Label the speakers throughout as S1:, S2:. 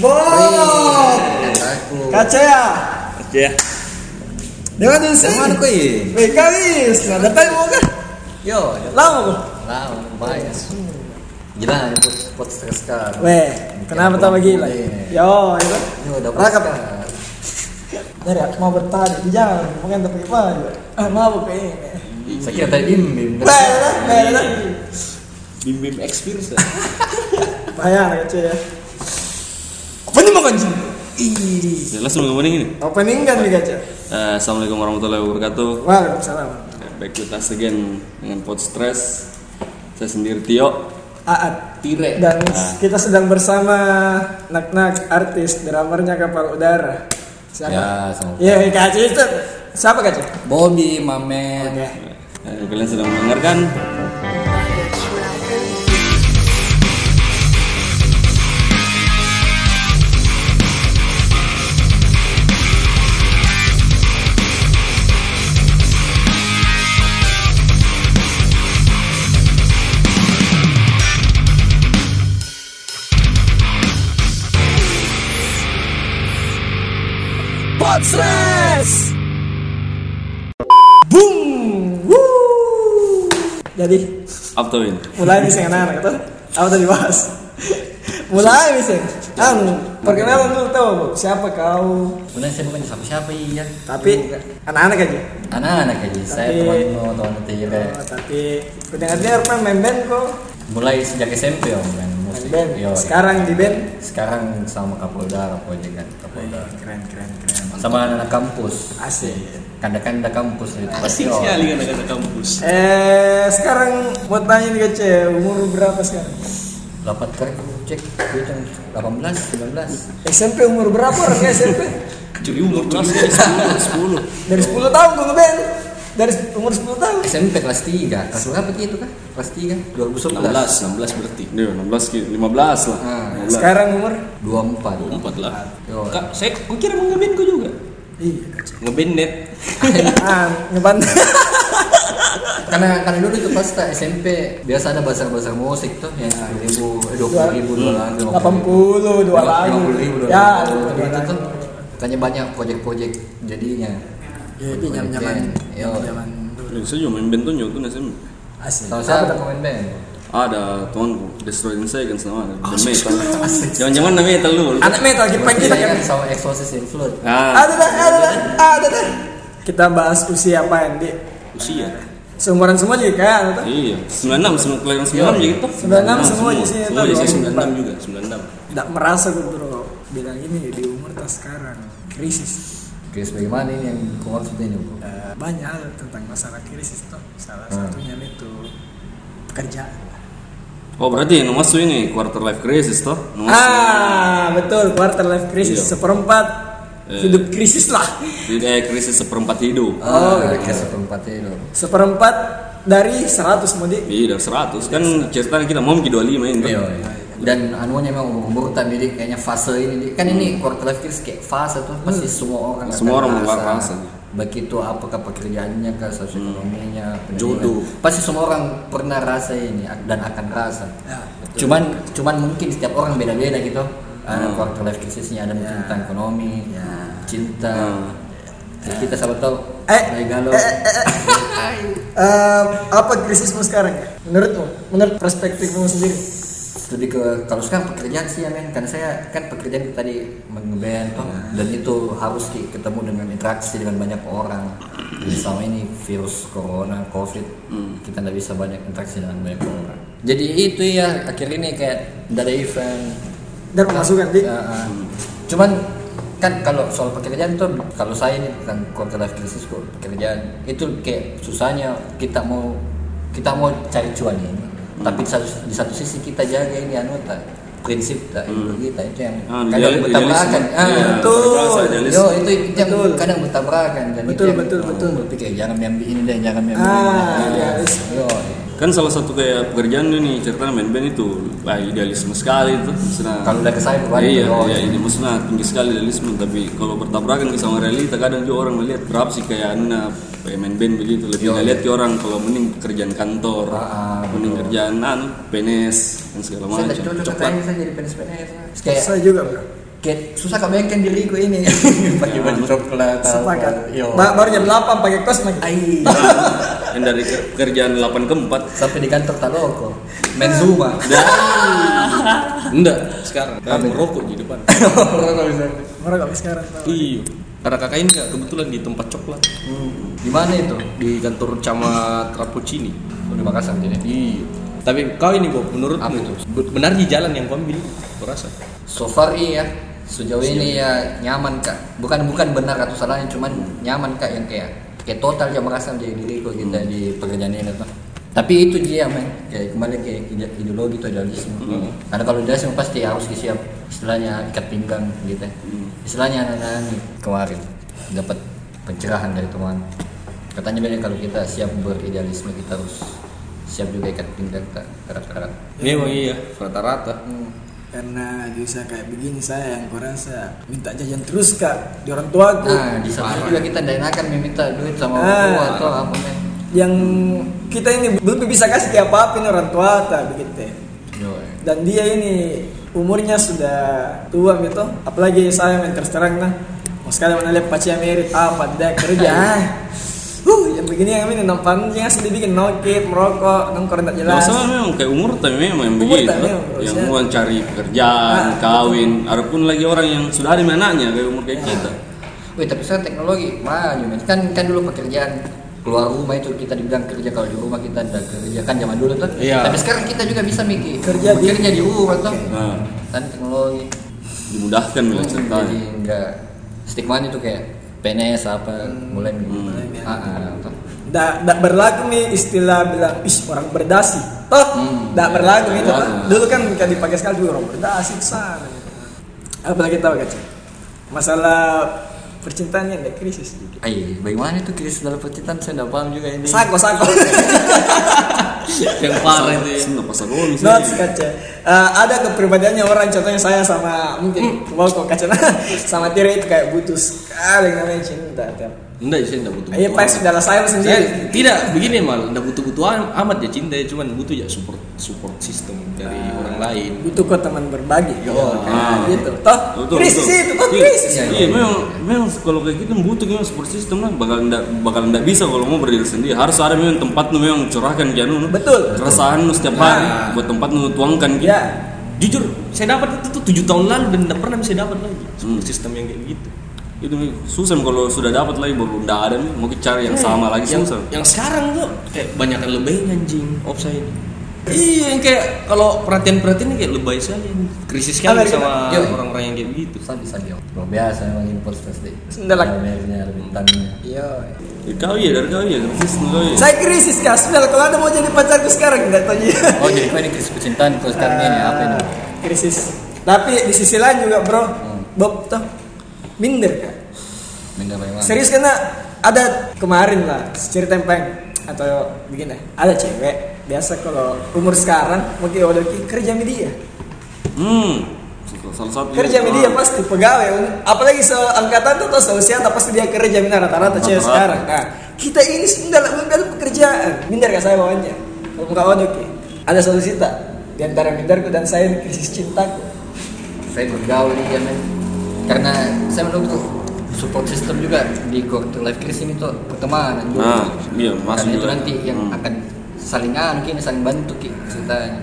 S1: Bob. Cachea. Iya.
S2: Ya.
S1: Dewan kan sih.
S3: Jangan kau ini.
S1: Wih, kawis. Lah, dapat mau kan? kah?
S3: Yo,
S1: Lau.
S3: lah, banyak. Gila, ini pot pot stres kan.
S1: Weh, ya, Iya. kenapa tak bagi lah? Yo, itu.
S3: Ini udah
S1: Rakap.
S3: kan.
S1: Dari aku mau bertahan di jalan, mungkin tak apa Ah, mau apa ini?
S3: Saya kira tadi bim bim.
S1: Weh, lah, weh, lah.
S2: Bim bim experience.
S1: Bahaya lah Cachea. Apa nih makan sih? Ih,
S2: Langsung ngomongin ini.
S1: opening kan nih Cachea.
S2: Eh, Assalamualaikum warahmatullahi wabarakatuh.
S1: Waalaikumsalam.
S2: Back with us again dengan pod stress. Saya sendiri Tio.
S1: Aat.
S3: Tire.
S1: Dan kita sedang bersama Nak-Nak, artis, dramernya kapal udara. Siapa?
S3: Ya, sama.
S1: Iya, Kak Aci itu. Siapa Kak Aci?
S3: Bobby, Mamet.
S1: Oke.
S2: Eh, kalian sedang mendengarkan
S1: Potsres! Boom! Woo! Jadi,
S2: After Win.
S1: mulai nih yang anak-anak itu. Apa tadi bahas? mulai nih Seng. Anu, perkenalan dulu tahu Bu. siapa kau?
S3: Kemudian saya bukan siapa siapa iya.
S1: Tapi anak-anak aja.
S3: anak-anak aja. Saya
S1: Tapi-
S3: teman teman iya. teman Tire.
S1: Oh, tapi pendengarnya pernah main band kok.
S3: Mulai sejak SMP om kan
S1: Main
S3: musik.
S1: band.
S3: Yo,
S1: Sekarang di band
S3: sekarang sama Kapolda, Kapolda kan, Kapolda.
S1: keren keren keren
S3: Sama anak kampus.
S1: asik
S3: Kanda-kanda kampus gitu.
S2: Asik
S3: Yo.
S2: sekali kan kata kampus.
S1: eh sekarang mau tanya nih Ceh, umur berapa sekarang
S3: Dapat kerja cek gue jam 18, 19.
S1: SMP umur berapa ya, orangnya SMP
S2: Curi umur curi umur 10.
S1: dari 10 tahun gue ngeband dari umur 10 tahun
S3: SMP kelas 3. Kelas berapa gitu kah? Kelas 3. 2011.
S4: 16, 16 berarti.
S2: Iya, 16 ki- 15 lah.
S3: Ah,
S2: 15.
S1: sekarang umur
S3: 24.
S4: 4 lah.
S3: Yo.
S4: Kak, saya ku kira mau ngeband ku juga.
S1: iya
S4: Ngeband net.
S1: ah ngebantai
S3: Karena karena dulu itu pas tak SMP biasa ada bazar-bazar musik tuh yang 10 ribu, eh, 20 ribu, 20
S1: 80 dua lagu
S3: 50 ribu,
S1: ya
S3: itu tuh. Katanya banyak proyek-proyek jadinya.
S1: jadi nyaman-nyaman
S3: Yo.
S1: nyaman-nyaman dulu.
S2: Nih, Iya, saya juga main band tuh nyuruh tuh nasib.
S1: asik
S3: Tahu
S1: Apa
S3: saya
S1: tuh?
S3: komen band.
S2: Ada temanku Destroy Insane kan sama ada The Metal. Jangan-jangan The Metal lu.
S1: anak metal kita kita
S3: Saya
S1: kan
S3: ingat sama Exorcist in Flood.
S2: Ah,
S1: ada dah ada dah ada dah kita bahas usia apaan di
S4: Usia.
S1: seumuran semua juga kan atau?
S2: iya. 96 semua kelahiran 96 jadi tuh.
S1: 96 semua di
S2: Oh, iya,
S1: sini
S4: Semua dari saya
S1: tuh
S4: 96 juga, 96.
S1: Tidak merasa gue bro bilang ini di umur tak sekarang krisis
S3: Oke, bagaimana ini yang kau maksud ini? Bro?
S1: Eh, banyak hal tentang masalah krisis tuh salah
S3: Hmm.
S1: satunya itu pekerjaan
S2: Oh, berarti yang masuk ini quarter life crisis toh?
S3: Oh.
S2: Yang masuk.
S1: ah betul quarter life crisis
S2: Iya.
S1: seperempat
S2: Eh.
S1: hidup krisis lah
S2: Tidak eh, krisis seperempat hidup.
S1: Oh,
S3: Ah,
S1: iya.
S3: kayak seperempatnya itu.
S1: seperempat dari 100 mau di
S2: Iya, dari 100 kan ceritanya kita mau ke 25 ini. toh?
S3: Iya, iya. Dan anunya memang urutan jadi kayaknya fase ini Dik. kan ini quarter life crisis kayak fase tuh pasti semua orang akan
S2: Semua orang
S3: merasa.
S2: mengalami fase.
S3: baik itu apakah pekerjaannya kah sosioekonominya pendidikan.
S2: Jodoh.
S3: pasti semua orang pernah rasa ini dan akan rasa
S1: Ya,
S3: cuman cuman mungkin setiap orang beda-beda gitu ada quarter life krisisnya ada mungkin
S1: Ya.
S3: tentang ekonomi
S1: Ya.
S3: cinta
S2: Hmm.
S3: Jadi kita sama tahu
S1: Eh,
S3: lagi galau
S1: eh, eh, eh. Em, eh, apa krisismu sekarang ya? Menurutmu, menurut perspektifmu sendiri?
S3: lebih ke kalau sekarang pekerjaan sih ya men kan saya kan pekerjaan itu tadi mengeband toh. dan itu harus di- ketemu dengan interaksi dengan banyak orang Jadi selama ini virus corona covid kita nggak bisa banyak interaksi dengan banyak orang jadi itu ya akhirnya ini kayak nggak ada event
S1: Dan kan, pemasukan di
S3: Ya, ah. cuman kan kalau soal pekerjaan tuh kalau saya ini bukan quarter life crisis kok pekerjaan itu kayak susahnya kita mau kita mau cari cuan ini tapi di satu, di satu sisi kita jaga ini anu tak prinsip tak ideologi tak itu yang kadang
S2: Ah, idealis-
S3: bertabrakan
S2: idealisme.
S3: Kan ah,
S2: Iya,
S3: betul
S2: berasa idealis.
S3: yo itu, itu yang
S1: Betul.
S3: kadang bertabrakan dan
S1: Betul,
S3: itu yang,
S1: betul, betul.
S3: berpikir jangan ambil ini dan jangan ambil
S1: Ah, iya.
S3: ini
S1: idealis.
S3: yo
S2: Kan salah satu kayak pekerjaan ini ceritanya main band itu lah idealisme sekali itu. Maksudnya-
S3: Kalau udah ke saya, bukan?
S2: Iya,
S3: Oh.
S2: iya, ini maksudnya tinggi sekali idealisme tapi kalau bertabrakan sama realita kadang juga orang melihat berapa sih kayak anu nah, kayak main band begitu
S3: Yo.
S2: lebih melihat ke orang kalau mending kerjaan kantor,
S3: Ah, ah,
S2: mending
S3: betul.
S2: kerjaan anu, PNS dan segala
S3: saya
S2: macam.
S3: dari dulu
S2: Cepat.
S3: katanya saya jadi PNS PNS kayak Eh,
S1: Saya juga bro
S3: kayak susah kebayangkan diriku ini pakai
S2: Ya,
S3: baju
S2: betul.
S3: coklat apa.
S1: Sepakat.
S3: Yo.
S1: Ba- baru jam 8 pakai kos lagi.
S3: eh, iya.
S1: Ah,
S3: Ai.
S2: yang dari ke- kerjaan 8 ke 4
S3: sampai di kantor tak loko main zuma
S4: Enggak, sekarang. Kayak merokok di depan.
S3: Kalau bisa.
S1: Merokok sekarang. tau.
S4: Iya. Karena kakak ini nggak kebetulan di tempat coklat
S3: Hmm. di mana itu
S4: di kantor camat Rapuccini.
S3: di Makassar jadi
S4: Iya. Tapi kau ini Bob,
S3: Apa
S4: menurutmu
S3: itu?
S4: be- benar di jalan yang kau ambil? Kau rasa?
S3: so far iya sejauh ini ya nyaman kak bukan bukan benar atau salahnya cuman nyaman kak yang kayak kayak total yang merasa menjadi diriku kita di pekerjaan ini tuh tapi itu dia men kayak kembali kayak ide- ideologi itu idealisme karena kalau idealisme pasti harus disiap istilahnya ikat pinggang gitu ya. istilahnya anak-anak ini kemarin dapat pencerahan dari teman katanya bilang kalau kita siap beridealisme kita harus siap juga ikat pinggang kak kerat-kerat
S4: Memang iya, rata-rata.
S1: Karena bisa kayak begini saya yang kurasa minta jajan terus kak di orang tuaku.
S3: Nah, di sana juga kita dan akan meminta duit sama orang
S1: Ah.
S3: tua atau apa men.
S1: Yang kita ini belum bisa kasih tiap apa ini orang tua tak begitu. Dan dia ini umurnya sudah tua gitu. Apalagi saya yang terus terang nah. Mau sekali mana lihat pacar merit apa tidak kerja. ah. Huh, yang begini yang ini nampan jangan sedih bikin nokip, merokok, nongkrong tak jelas.
S2: Masalah memang kayak umur tapi memang yang
S1: Umur tapi
S2: begitu kan?
S1: memang,
S2: yang
S1: saya-
S2: mau cari pekerjaan,
S1: Ah.
S2: kawin, ataupun lagi orang yang sudah ada anaknya kayak umur kayak kita.
S3: Wih, tapi sekarang teknologi maju men. Kan kan dulu pekerjaan keluar rumah itu kita dibilang kerja kalau di rumah kita ada kerja kan zaman dulu tuh.
S4: Iya.
S3: Tapi sekarang kita juga bisa mikir
S1: Kerja di-
S3: kerja di rumah tuh.
S2: Nah,
S3: Dan teknologi
S2: dimudahkan lah
S3: Hmm, jadi
S2: ceritanya.
S3: enggak stigma itu kayak PNS apa mulai
S1: Mulai
S3: hmm.
S1: biar-
S3: ah, ah, tuh.
S1: Dak dak berlaku nih istilah bilang is orang berdasi. Toh,
S3: Hmm.
S1: dak berlaku gitu.
S2: Berlaku.
S1: Pak. Dulu kan kan dipakai sekali dulu orang berdasi besar. Apalagi tahu kan? Masalah percintaannya ada krisis sedikit.
S3: Ay, Eh, bagaimana itu krisis dalam percintaan saya tidak paham juga ini.
S1: Sako sako.
S4: yang parah itu. ya.
S2: Enggak pasal gua misalnya.
S1: Not kaca. Eh, ada kepribadiannya orang contohnya saya sama mungkin mau kok kaca sama Tira itu kayak butuh sekali yang namanya cinta. Tiap.
S4: Enggak, saya enggak butuh.
S1: Iya pas dalam saya sendiri.
S4: Saya tidak begini mal, enggak butuh-butuh am- amat ya cinta, ya. cuman butuh ya support support system dari orang lain.
S1: butuh kok teman berbagi.
S4: Yo,
S1: Nah,
S2: ah.
S1: gitu. Toh
S2: Betul,
S1: krisis
S2: betul.
S1: itu toh
S2: Iya.
S1: krisis.
S3: Iya,
S2: Iya, memang memang kalau kayak gitu butuh memang support system lah bakal ndak bakal ndak bisa kalau mau berdiri sendiri. Harus ada memang tempat nu memang curahkan janu. nu.
S1: Betul.
S2: Keresahan nu setiap
S4: Nah.
S2: hari buat tempat nu tuangkan gitu.
S1: Ya,
S4: Jujur, saya dapat itu tuh tujuh tahun lalu dan enggak pernah saya dapat lagi
S2: Hmm.
S4: support system yang kayak gitu.
S2: Itu memang susah kalau sudah dapat lagi baru ndak ada nih, mau cari
S1: Iya,
S2: yang sama lagi
S4: yang,
S2: susah.
S4: yang sekarang tuh kayak banyak yang lebay anjing offside iya yang kayak kalau perhatian perhatian kayak lebay saja krisis
S1: Apa
S4: sekali
S1: gitu?
S4: sama
S3: Yo.
S4: orang-orang yang kayak gitu
S3: Bisa bisa dia. Luar biasa memang ini podcast deh.
S1: Sudah lah.
S3: Kameranya, bintangnya.
S1: yo.
S2: Ya, kau iya, dari kau iya, krisis nu kau iya.
S1: Saya krisis kak. Sudah kalau ada mau jadi pacarku sekarang nggak tahu ya.
S3: Oh jadi kau ini krisis percintaan kau sekarang ini apa ini?
S1: Krisis. Tapi di sisi lain juga bro,
S3: Hmm.
S1: Bob toh minder kak.
S3: Minta bagaimana?
S1: Serius karena ada kemarin lah cerita tempeng atau begini ada cewek biasa kalau umur sekarang mungkin udah ki- kerja media
S2: Hmm. Salah satu
S1: kerja media pasti pegawai um- apalagi seangkatan tuh atau seusia tak pasti dia kerja minar rata-rata cewek
S2: Rata-rata.
S1: sekarang nah kita ini sudah lah bukan pekerjaan minder kan saya bawanya kalau muka kawan oke ada solusi tak di antara minderku dan saya ini krisis cintaku
S3: Saya bergaul nih ya men. Karena saya menurut tuh support system juga di quarter life crisis ini tuh pertemanan juga.
S2: Nah, iya, masuk
S3: Karena itu
S2: juga.
S3: nanti yang
S2: Hmm.
S3: akan saling anu kini saling bantu ki ceritanya.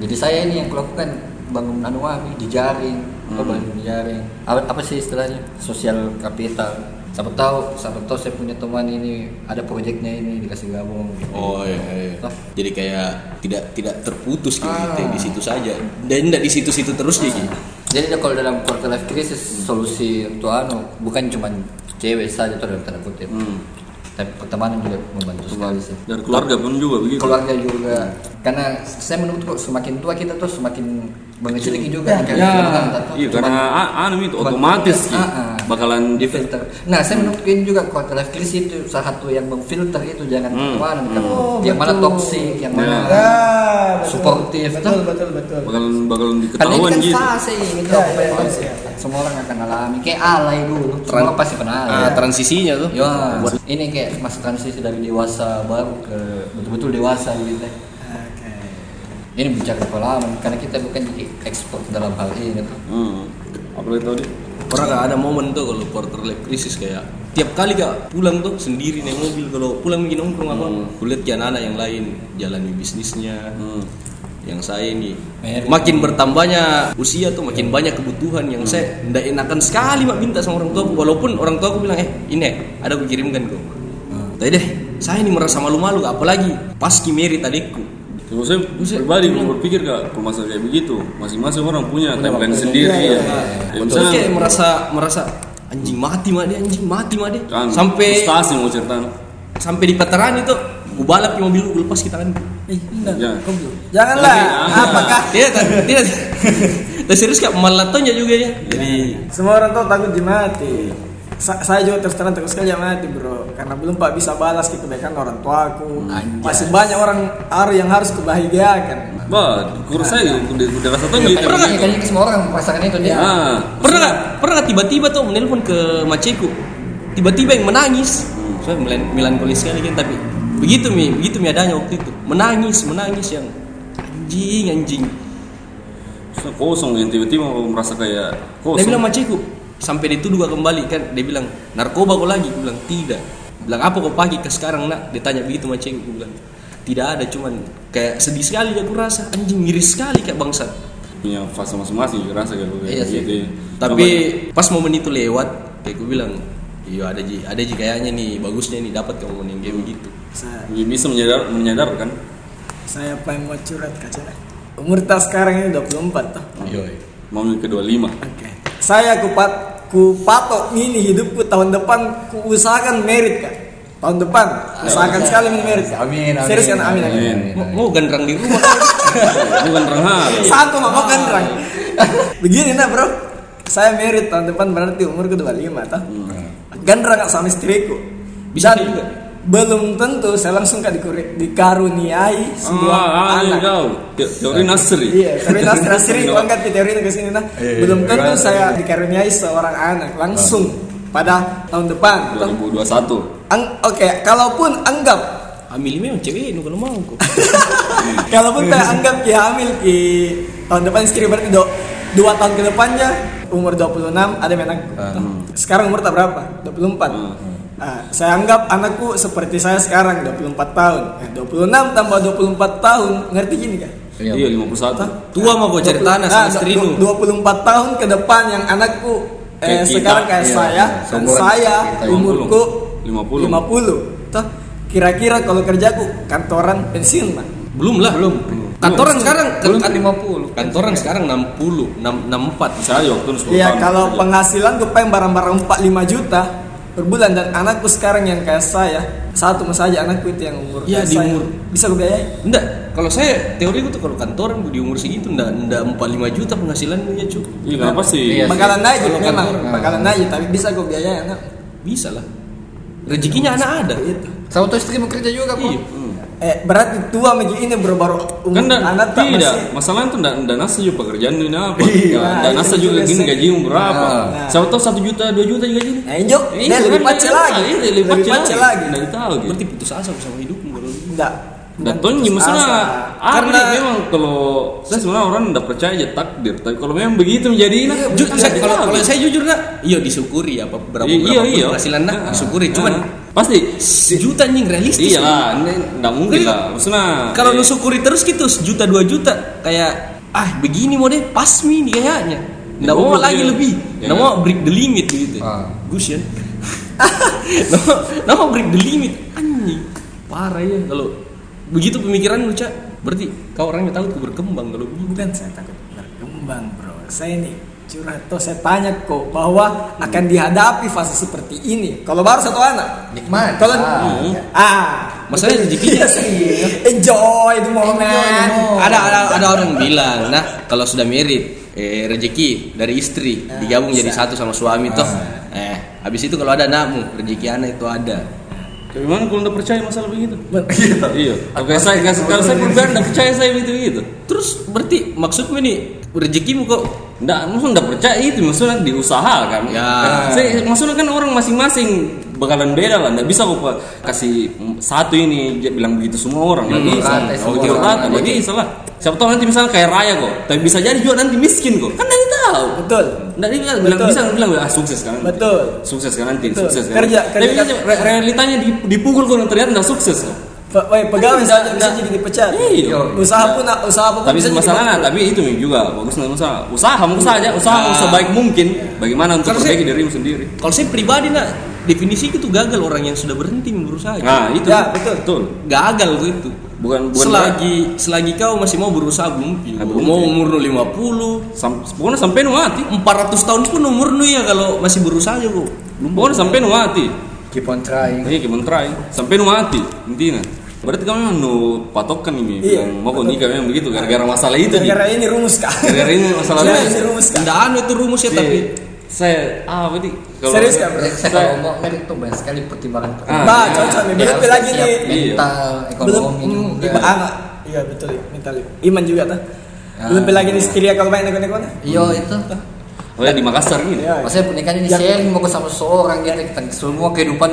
S3: Jadi saya ini yang kulakukan bangun anu kami dijaring, hmm. bangun dijaring. Apa, apa sih istilahnya? Sosial kapital. Siapa tahu, siapa tahu saya punya teman ini ada proyeknya ini dikasih gabung. gitu.
S4: oh iya, iya.
S3: Toh.
S4: jadi kayak tidak tidak terputus gitu,
S3: Ah.
S4: di situ saja dan tidak di situ situ terus jadi
S3: Jadi kalau dalam quarter life crisis solusi untuk anu bukan cuma cewek saja tuh dalam tanda kutip.
S2: Hmm.
S3: Tapi pertemanan juga membantu sekali sih.
S2: dari keluarga pun juga begitu.
S3: Keluarga juga. Karena saya menurut kok semakin tua kita tuh semakin mengeciliki juga. Kayak
S1: ya.
S3: keluarga kita tuh.
S2: Iya,
S3: Cuman
S2: karena a- anu itu
S3: cuman-
S2: otomatis
S3: Ah,
S2: sih.
S3: ah.
S2: Bakalan di
S3: difilter. Nah, saya menurut ini juga quarter life crisis itu salah satu yang memfilter itu jangan
S2: Hmm.
S3: pertemanan. Karena
S1: Oh,
S3: yang mana
S1: betul.
S3: toksik, yang mana
S2: Ya.
S3: Supportive,
S1: Ah, betul
S3: toh.
S1: betul betul
S2: bakalan bakalan
S3: Karena ini
S2: diketahuan
S3: kan
S2: gitu.
S3: fase gitu.
S1: Ya, ya,
S3: fase.
S1: ya, ya.
S3: Semua orang akan alami. Kayak alay dulu. Semua pasti pernah alay.
S4: Ah, transisinya tuh
S3: Ya, buat- ini kayak masa transisi dari dewasa baru ke betul-betul dewasa gitu. ya.
S1: Oke.
S3: Ini bicara pengalaman karena kita bukan di- expert dalam hal ini. tuh.
S2: Hmm. apalagi tadi
S4: Pernah nggak ada momen tuh kalau quarter life krisis kayak tiap kali kak pulang tuh sendiri naik mobil kalau pulang bikin nongkrong apa
S2: Hmm.
S4: kulit kayak anak yang lain jalani bisnisnya
S2: hmm.
S4: yang saya ini
S3: Merit.
S4: makin bertambahnya usia tuh makin banyak kebutuhan yang saya ndak enakan sekali mak minta sama orang tua aku. walaupun orang tua aku bilang eh ini ada aku kirimkan kok tapi deh saya ini merasa malu-malu Kak. apalagi pas kimeri adikku
S2: Terus saya Ya, pribadi belum berpikir kak kalau masalah kayak begitu masing-masing orang punya timeline
S3: waktunya.
S2: sendiri
S1: Iya,
S2: ya.
S1: iya, iya.
S2: Ya,
S4: Betul.
S2: misalnya,
S4: Terus kayak merasa merasa anjing mati mak dia anjing mati mak dia
S2: kan,
S4: sampai
S2: frustasi mau cerita
S4: sampai di veteran itu aku balap di mobil aku lepas kita kan
S1: Ih, enggak,
S2: Jangan.
S1: goblok. Janganlah.
S2: Jangan.
S1: Apakah
S4: tidak tidak tidak Iya, serius kak malatonya juga ya jadi
S1: semua orang tuh takut dimati? Sa- saya juga terus terang takut sekali sama mati bro karena belum pak bisa balas gitu kan orang tuaku
S3: Anjay.
S1: masih banyak orang ar yang harus kubahagiakan
S2: Bah, kurus saya udah udah rasa tuh gitu.
S1: Iya.
S3: Iya,
S4: pernah
S3: Kayaknya kayaknya semua orang merasakan itu dia.
S2: Ah,
S4: pernah nggak pernah nggak tiba-tiba tuh menelpon ke maceku tiba-tiba yang menangis Hmm, saya melan- melankolis sekali kan tapi begitu mi begitu mi adanya waktu itu menangis menangis yang anjing anjing
S2: so- kosong yang tiba-tiba aku merasa kayak
S4: dia
S2: kosong.
S4: bilang maceku sampai dituduh gak kembali kan dia bilang narkoba kau lagi Aku bilang tidak Dia bilang apa kau pakai ke sekarang nak dia tanya begitu maceku Aku bilang tidak ada cuman kayak sedih sekali aku rasa anjing miris sekali kayak bangsat
S2: Punya fase masing-masing juga rasa kayak
S4: Iya
S2: kayak
S4: sih.
S2: gitu. ya.
S4: Tapi pas momen itu lewat, kayak gue bilang, iya ada ji, ada ji kayaknya nih bagusnya nih dapat kamu momen yang
S2: Hmm.
S4: kayak begitu.
S1: saya
S2: Coba, ya? bisa menyadar menyadarkan.
S1: saya pengen mau curhat kaca umur tak sekarang ini 24 tuh
S3: Iya.
S4: Yoi.
S2: Mau yang ke 25.
S1: Oke. Saya kupat ku patok ini hidupku tahun depan ku usahakan merit kak. Tahun depan usahakan sekali men merit. Kak.
S3: Amin, amin.
S1: Serius kan amin. amin.
S4: Mau, mau gandrang di rumah.
S2: Eh, Bukan terhal.
S1: Satu mah kan Rang. Begini nah bro, saya merit tahun depan berarti umur ke 25 tah. Gandra kak sama istriku.
S4: Bisa
S1: Dan
S4: juga.
S1: Belum tentu saya langsung kak dikuri- dikaruniai sebuah
S2: Ah, ah, ini
S1: anak.
S2: kau. Te- Teori Nasri.
S1: Iya, tapi nas nasri
S2: Nasri.
S1: gua angkat di teori ke sini nah.
S3: Iya, iya, Iya.
S1: Belum tentu
S3: gimana?
S1: saya dikaruniai seorang anak langsung pada tahun depan.
S3: Iya.
S1: Toh,
S2: 2021.
S1: ang- Oke, kalaupun anggap
S4: Ambil memang cewek nu kalau mau kok.
S3: Iya.
S1: kalaupun tak anggap ki hamil ki tahun depan istri berarti do, dua tahun ke depannya umur 26 ada yang anak.
S3: Ah.
S1: Toh, Sekarang umur tak berapa? 24. Ah, saya anggap anakku seperti saya sekarang 24 tahun. Nah, 26 tambah 24 tahun, ngerti gini kan?
S2: Iya, 51.
S4: Tua mah kau cari tanah sama
S1: Nah,
S4: istri
S1: du-
S4: nu.
S1: du- 24 tahun ke depan yang anakku eh,
S2: Kayak kita,
S1: sekarang kayak
S3: iya,
S1: saya
S3: iya.
S1: dan
S3: Seumuran
S1: saya
S3: kita,
S1: umurku 50.
S2: 50.
S1: Toh kira-kira kalau kerjaku kantoran pensiun lah.
S4: Belum lah. Belum. Kantoran sekarang
S3: Belum
S4: kan-
S3: 50.
S4: Kantoran sekarang 60, 6, 64.
S2: Saya waktu itu 10
S1: Iya
S2: tahun.
S1: kalau
S2: Iya.
S1: penghasilan gue pengen barang-barang 45 juta per bulan dan anakku sekarang yang kayak saya satu mas aja anakku itu yang umur
S4: Iya,
S1: kayak
S4: di
S1: saya.
S4: umur.
S1: bisa gue biayain
S4: Enggak, kalau saya teori itu kalau kantoran di umur segitu enggak enggak 45 juta penghasilan punya cukup.
S2: Iya, kenapa sih?
S3: Iya.
S1: bakalan naik gitu,
S4: Kalau
S1: memang
S4: kantoran.
S1: bakalan naik tapi bisa gue biayain anak
S4: Bisa lah. Rezekinya anak ada.
S1: itu
S3: Sama tuh istri mau kerja juga kok.
S4: Iya.
S1: eh berarti tua megi ini baru baru umur
S2: Hmm. Kan da,
S1: anak tak
S2: tidak,
S1: masih-
S2: masalahnya itu tidak nasa juga pekerjaan ini apa
S1: Iya,
S2: Tidak
S1: itu
S2: nasa juga
S1: juga
S2: gini
S1: sih.
S2: gajimu berapa
S1: Nah.
S2: Siapa tahu 1 juta, 2 juta gaji ini
S1: Nah, Injo,
S2: Iya,
S1: dia lebih pacel lagi.
S2: Lebih pacel
S1: lagi.
S2: lagi Tidak tahu gitu
S4: Berarti putus asa kau sama hidupmu kalau gitu.
S1: Enggak.
S2: Dan Tony masalah apa
S1: karena
S2: nih memang kalau saya sebenarnya orang tidak percaya aja takdir tapi kalau memang begitu menjadi nah,
S4: Ju- saya-
S2: tidak
S4: kalau
S2: tahu.
S4: kalau saya jujur nak, iya disyukuri apa berapa
S2: Iya,
S4: berapa
S2: iya.
S4: penghasilan nak,
S2: Nah, Iya.
S4: disyukuri. Cuman
S2: nah. pasti
S4: sejuta anjing realistis.
S2: iyalah ini tidak mungkin lah maksudnya
S4: Kalau
S2: eh,
S4: lu syukuri terus gitu sejuta dua juta kayak ah begini mau deh pas mi nih kayaknya.
S2: Ya,
S4: Nggak
S2: boleh.
S4: mau lagi lebih,
S2: Ya.
S4: nggak mau break the limit gitu.
S3: Ah.
S4: Gus ya. Nggak mau- nggak mau break the limit anjing. Parah ya kalau begitu pemikiran lu cak berarti kau orangnya tahu tuh berkembang kalau begini.
S1: bukan saya takut berkembang, Bro. Saya ini curhat toh saya tanya kok bahwa akan dihadapi fase seperti ini. Kalau baru satu anak,
S3: Nikmat.
S1: kalau
S3: Ah.
S1: ah,
S4: Masalahnya
S1: Iya
S4: rezekinya.
S1: sih. Enjoy the moment.
S3: Enjoy the moment.
S4: ada ada ada orang bilang nah kalau sudah merit eh, rezeki dari istri
S1: Nah,
S4: digabung jadi satu sama suami toh
S1: Ah.
S4: eh habis itu kalau ada anakmu rezeki anak itu ada
S2: tapi mana kalau tidak percaya masalah begitu iya oke saya kalau saya berbeda tidak percaya saya begitu gitu
S4: terus berarti maksudmu nih rezekimu kok
S2: Nggak, maksudnya nggak percaya itu maksudnya diusahakan.
S4: Ya.
S2: Saya, maksudnya kan orang masing-masing bakalan beda lah. Nggak bisa kok Pak, kasih mm, satu ini dia bilang begitu semua orang. Iya, Nggak
S4: Hmm,
S2: bisa.
S3: rata semua
S2: Oke,
S3: orang.
S2: rata. Nggak bisa lah. Siapa tahu nanti misalnya kaya raya kok, tapi bisa jadi juga nanti miskin kok. Kan dari tahu.
S4: tahu.
S1: betul
S2: Nggak dia bilang, bilang
S1: Betul.
S2: bisa bilang ah sukses kan nanti.
S1: Betul.
S2: Sukses kan nanti,
S1: Betul.
S2: sukses kan.
S1: Kerja-
S2: Tapi
S1: kerja-
S2: dia- re- realitanya di- dipukul kok yang terlihat nggak sukses kan.
S1: Pe- woi, pegawai
S2: Nggak-
S1: saja bisa
S2: nggak-
S1: jadi dipecat
S2: Iya.
S1: usaha pun usaha pun
S2: Tapi masalahnya, tapi itu juga bagus nggak masalah. Usaha, mau usaha
S1: Nah.
S2: aja, usaha mau
S4: Ah.
S2: sebaik mungkin. Bagaimana untuk
S4: Karena
S2: perbaiki dirimu sendiri?
S4: Kalau saya pribadi nak definisi itu gagal orang yang sudah berhenti berusaha.
S2: Nah itu,
S1: Ya, betul.
S4: Gagal tuh itu.
S2: Bukan, bukan
S4: selagi selagi kau masih mau berusaha belum
S2: Ah, belum
S4: mau
S2: pi.
S4: umur lu 50
S2: Sam, pokoknya sampai nu mati.
S4: 400 tahun pun umur lu ya kalau masih berusaha aja kok
S2: Pokoknya sampai nu mati.
S3: keep on trying
S2: Iya, kayak try. Sampai nu mati, intinya. Berarti kamu memang nu patokan ini.
S1: Iya,
S2: bilang, mau kok nikah memang begitu gara-gara masalah itu. Di.
S1: gara ini rumus kak
S2: Gara-gara ini masalah
S1: Iya,
S2: rumus.
S1: ini rumus kak
S4: tidak anu itu rumusnya
S2: Iya.
S4: tapi
S2: saya ah berarti
S1: Serius nggak, bro?
S3: saya kalau mau kan itu banyak sekali pertimbangan
S2: Ah,
S1: Bah, iya. Nah, cocok nih.
S3: Dia
S1: Belum
S3: harus
S1: lagi
S3: siap
S1: nih.
S3: mental
S1: belum
S3: ekonomi
S1: hmm,
S3: juga
S1: iba- anak iya betul mental iman juga tuh
S3: Ah.
S1: belum lagi di sekiria kalau banyak neko-neko
S3: iya itu
S2: Oh ya di Makassar gini.
S1: Iya.
S3: maksudnya pernikahan ini
S1: Yang-
S3: sharing mau ke sama seorang gitu tentang semua kehidupan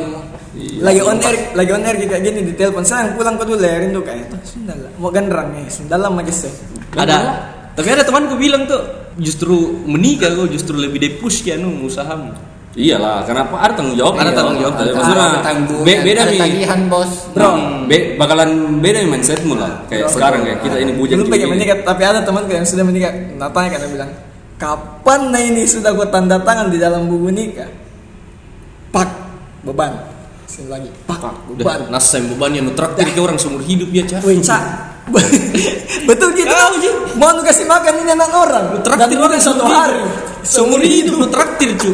S2: Iya,
S1: lagi on air lagi on air kayak gini di telepon sayang pulang kau dulu ya rindu kayak itu sudah lah mau genderang ya sudah lama kese
S4: ada tapi ada temanku bilang tuh justru menikah kok justru lebih depush ya nu usahamu
S2: Iyalah, kenapa ada tanggung
S1: Iya,
S2: jawab?
S4: Ada tanggung jawab.
S2: Ada-
S4: Ada
S2: Maksudnya
S3: ada tanggungan,
S2: be- beda
S3: ada
S2: nih.
S3: tagihan bos
S1: Bro.
S2: Be- bakalan beda nih mindsetmu lah. Kayak
S1: Bro.
S2: Eh, sekarang kayak kita ini bujang
S1: belum pengen
S2: gini.
S1: menikah tapi ada teman yang sudah menikah nah tanya karena bilang kapan nah ini sudah gua tanda tangan di dalam buku nikah pak beban sini lagi pak
S4: udah
S1: beban
S4: nasem beban yang nu traktir ke orang seumur hidup ya cah
S1: Wih, Cak. betul gitu
S4: Kau, Ji.
S1: mau nu kasih makan ini anak orang
S4: Nu traktir
S1: Dan
S4: orang
S1: satu hari
S4: seumur hidup nu traktir cu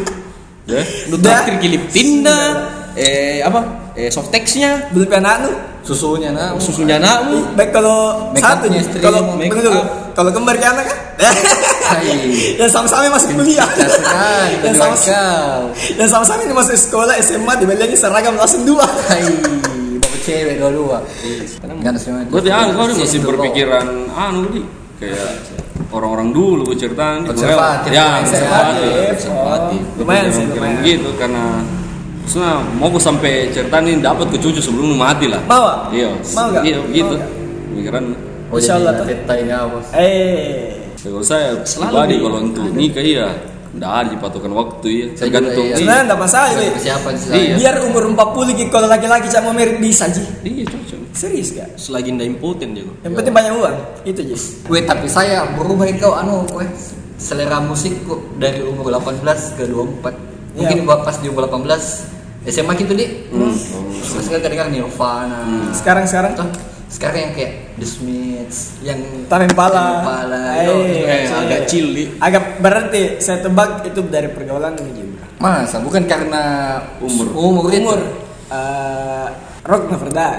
S2: Ya.
S4: nu traktir kilip tinda eh apa eh softex-nya
S1: belum punya anak nu
S3: susunya nah
S4: susunya anakmu
S1: baik kalau
S3: Make
S1: satu
S3: upnya
S1: nih
S3: istri,
S1: kalau
S4: make
S1: bener dulu.
S4: up.
S1: kalau kembar ke anak kan
S3: Hai.
S1: dan sama-sama masih kuliah
S3: Pintar sekali,
S1: dan
S3: kedua
S1: sama
S3: kau.
S1: dan sama-sama ini masuk sekolah SMA dibeliannya seragam langsung dua
S3: Hai, dapat cewek dua-dua. Gak ada semangat.
S2: Berarti ah, kau masih berpikiran anu di kayak orang-orang dulu gue ceritain di-
S3: Konservatif.
S2: Ya,
S3: Konservatif.
S2: konservatif.
S1: Oh, lumayan
S2: Lumayan
S1: sih
S2: Kira
S1: lumayan
S2: gitu karena maksudnya mau gue sampai ceritain ini dapat ke cucu sebelum lu mati lah.
S1: Bawa?
S2: Iya.
S1: Mau nggak?
S2: Iya,
S1: Mau
S2: gitu.
S1: nggak?
S2: Pikiran
S3: Oh,
S1: Insya
S3: jadi
S1: Allah,
S3: nggak
S1: tuh.
S3: petai nggak, bos.
S1: eh
S2: Kalau saya
S4: Selalu
S2: pribadi
S4: nih.
S2: kalau untuk nikah iya nggak ada dipatokan waktu ya
S3: Saya juga,
S2: tergantung
S3: iya.
S1: sebenarnya enggak masalah
S3: Ada
S1: Ji.
S3: Persiapan sih
S2: Iya.
S3: saya.
S1: biar umur 40 Ji, kalau laki-laki cak mau merit bisa Ji
S2: iya cocok
S1: serius gak
S4: selagi ndak impoten dia kok
S1: yang penting banyak uang itu Ji
S3: Weh, tapi saya berubah kau anu, weh. Selera musikku dari umur 18 ke 24. Mungkin
S1: Iya.
S3: buat pas di umur 18 SMA gitu nih. Terus nggak kedengar Nirvana.
S1: sekarang sekarang
S3: Tuh, Kan, sekarang yang kayak The Smiths, yang
S1: Tamen pala.
S3: Pala,
S1: Eh,
S3: itu
S4: eh, agak chill Li.
S1: agak berarti saya tebak itu dari pergaulan ini Ji
S3: Masa bukan karena
S2: Umur.
S3: Umur, itu.
S1: umur eh, rock never die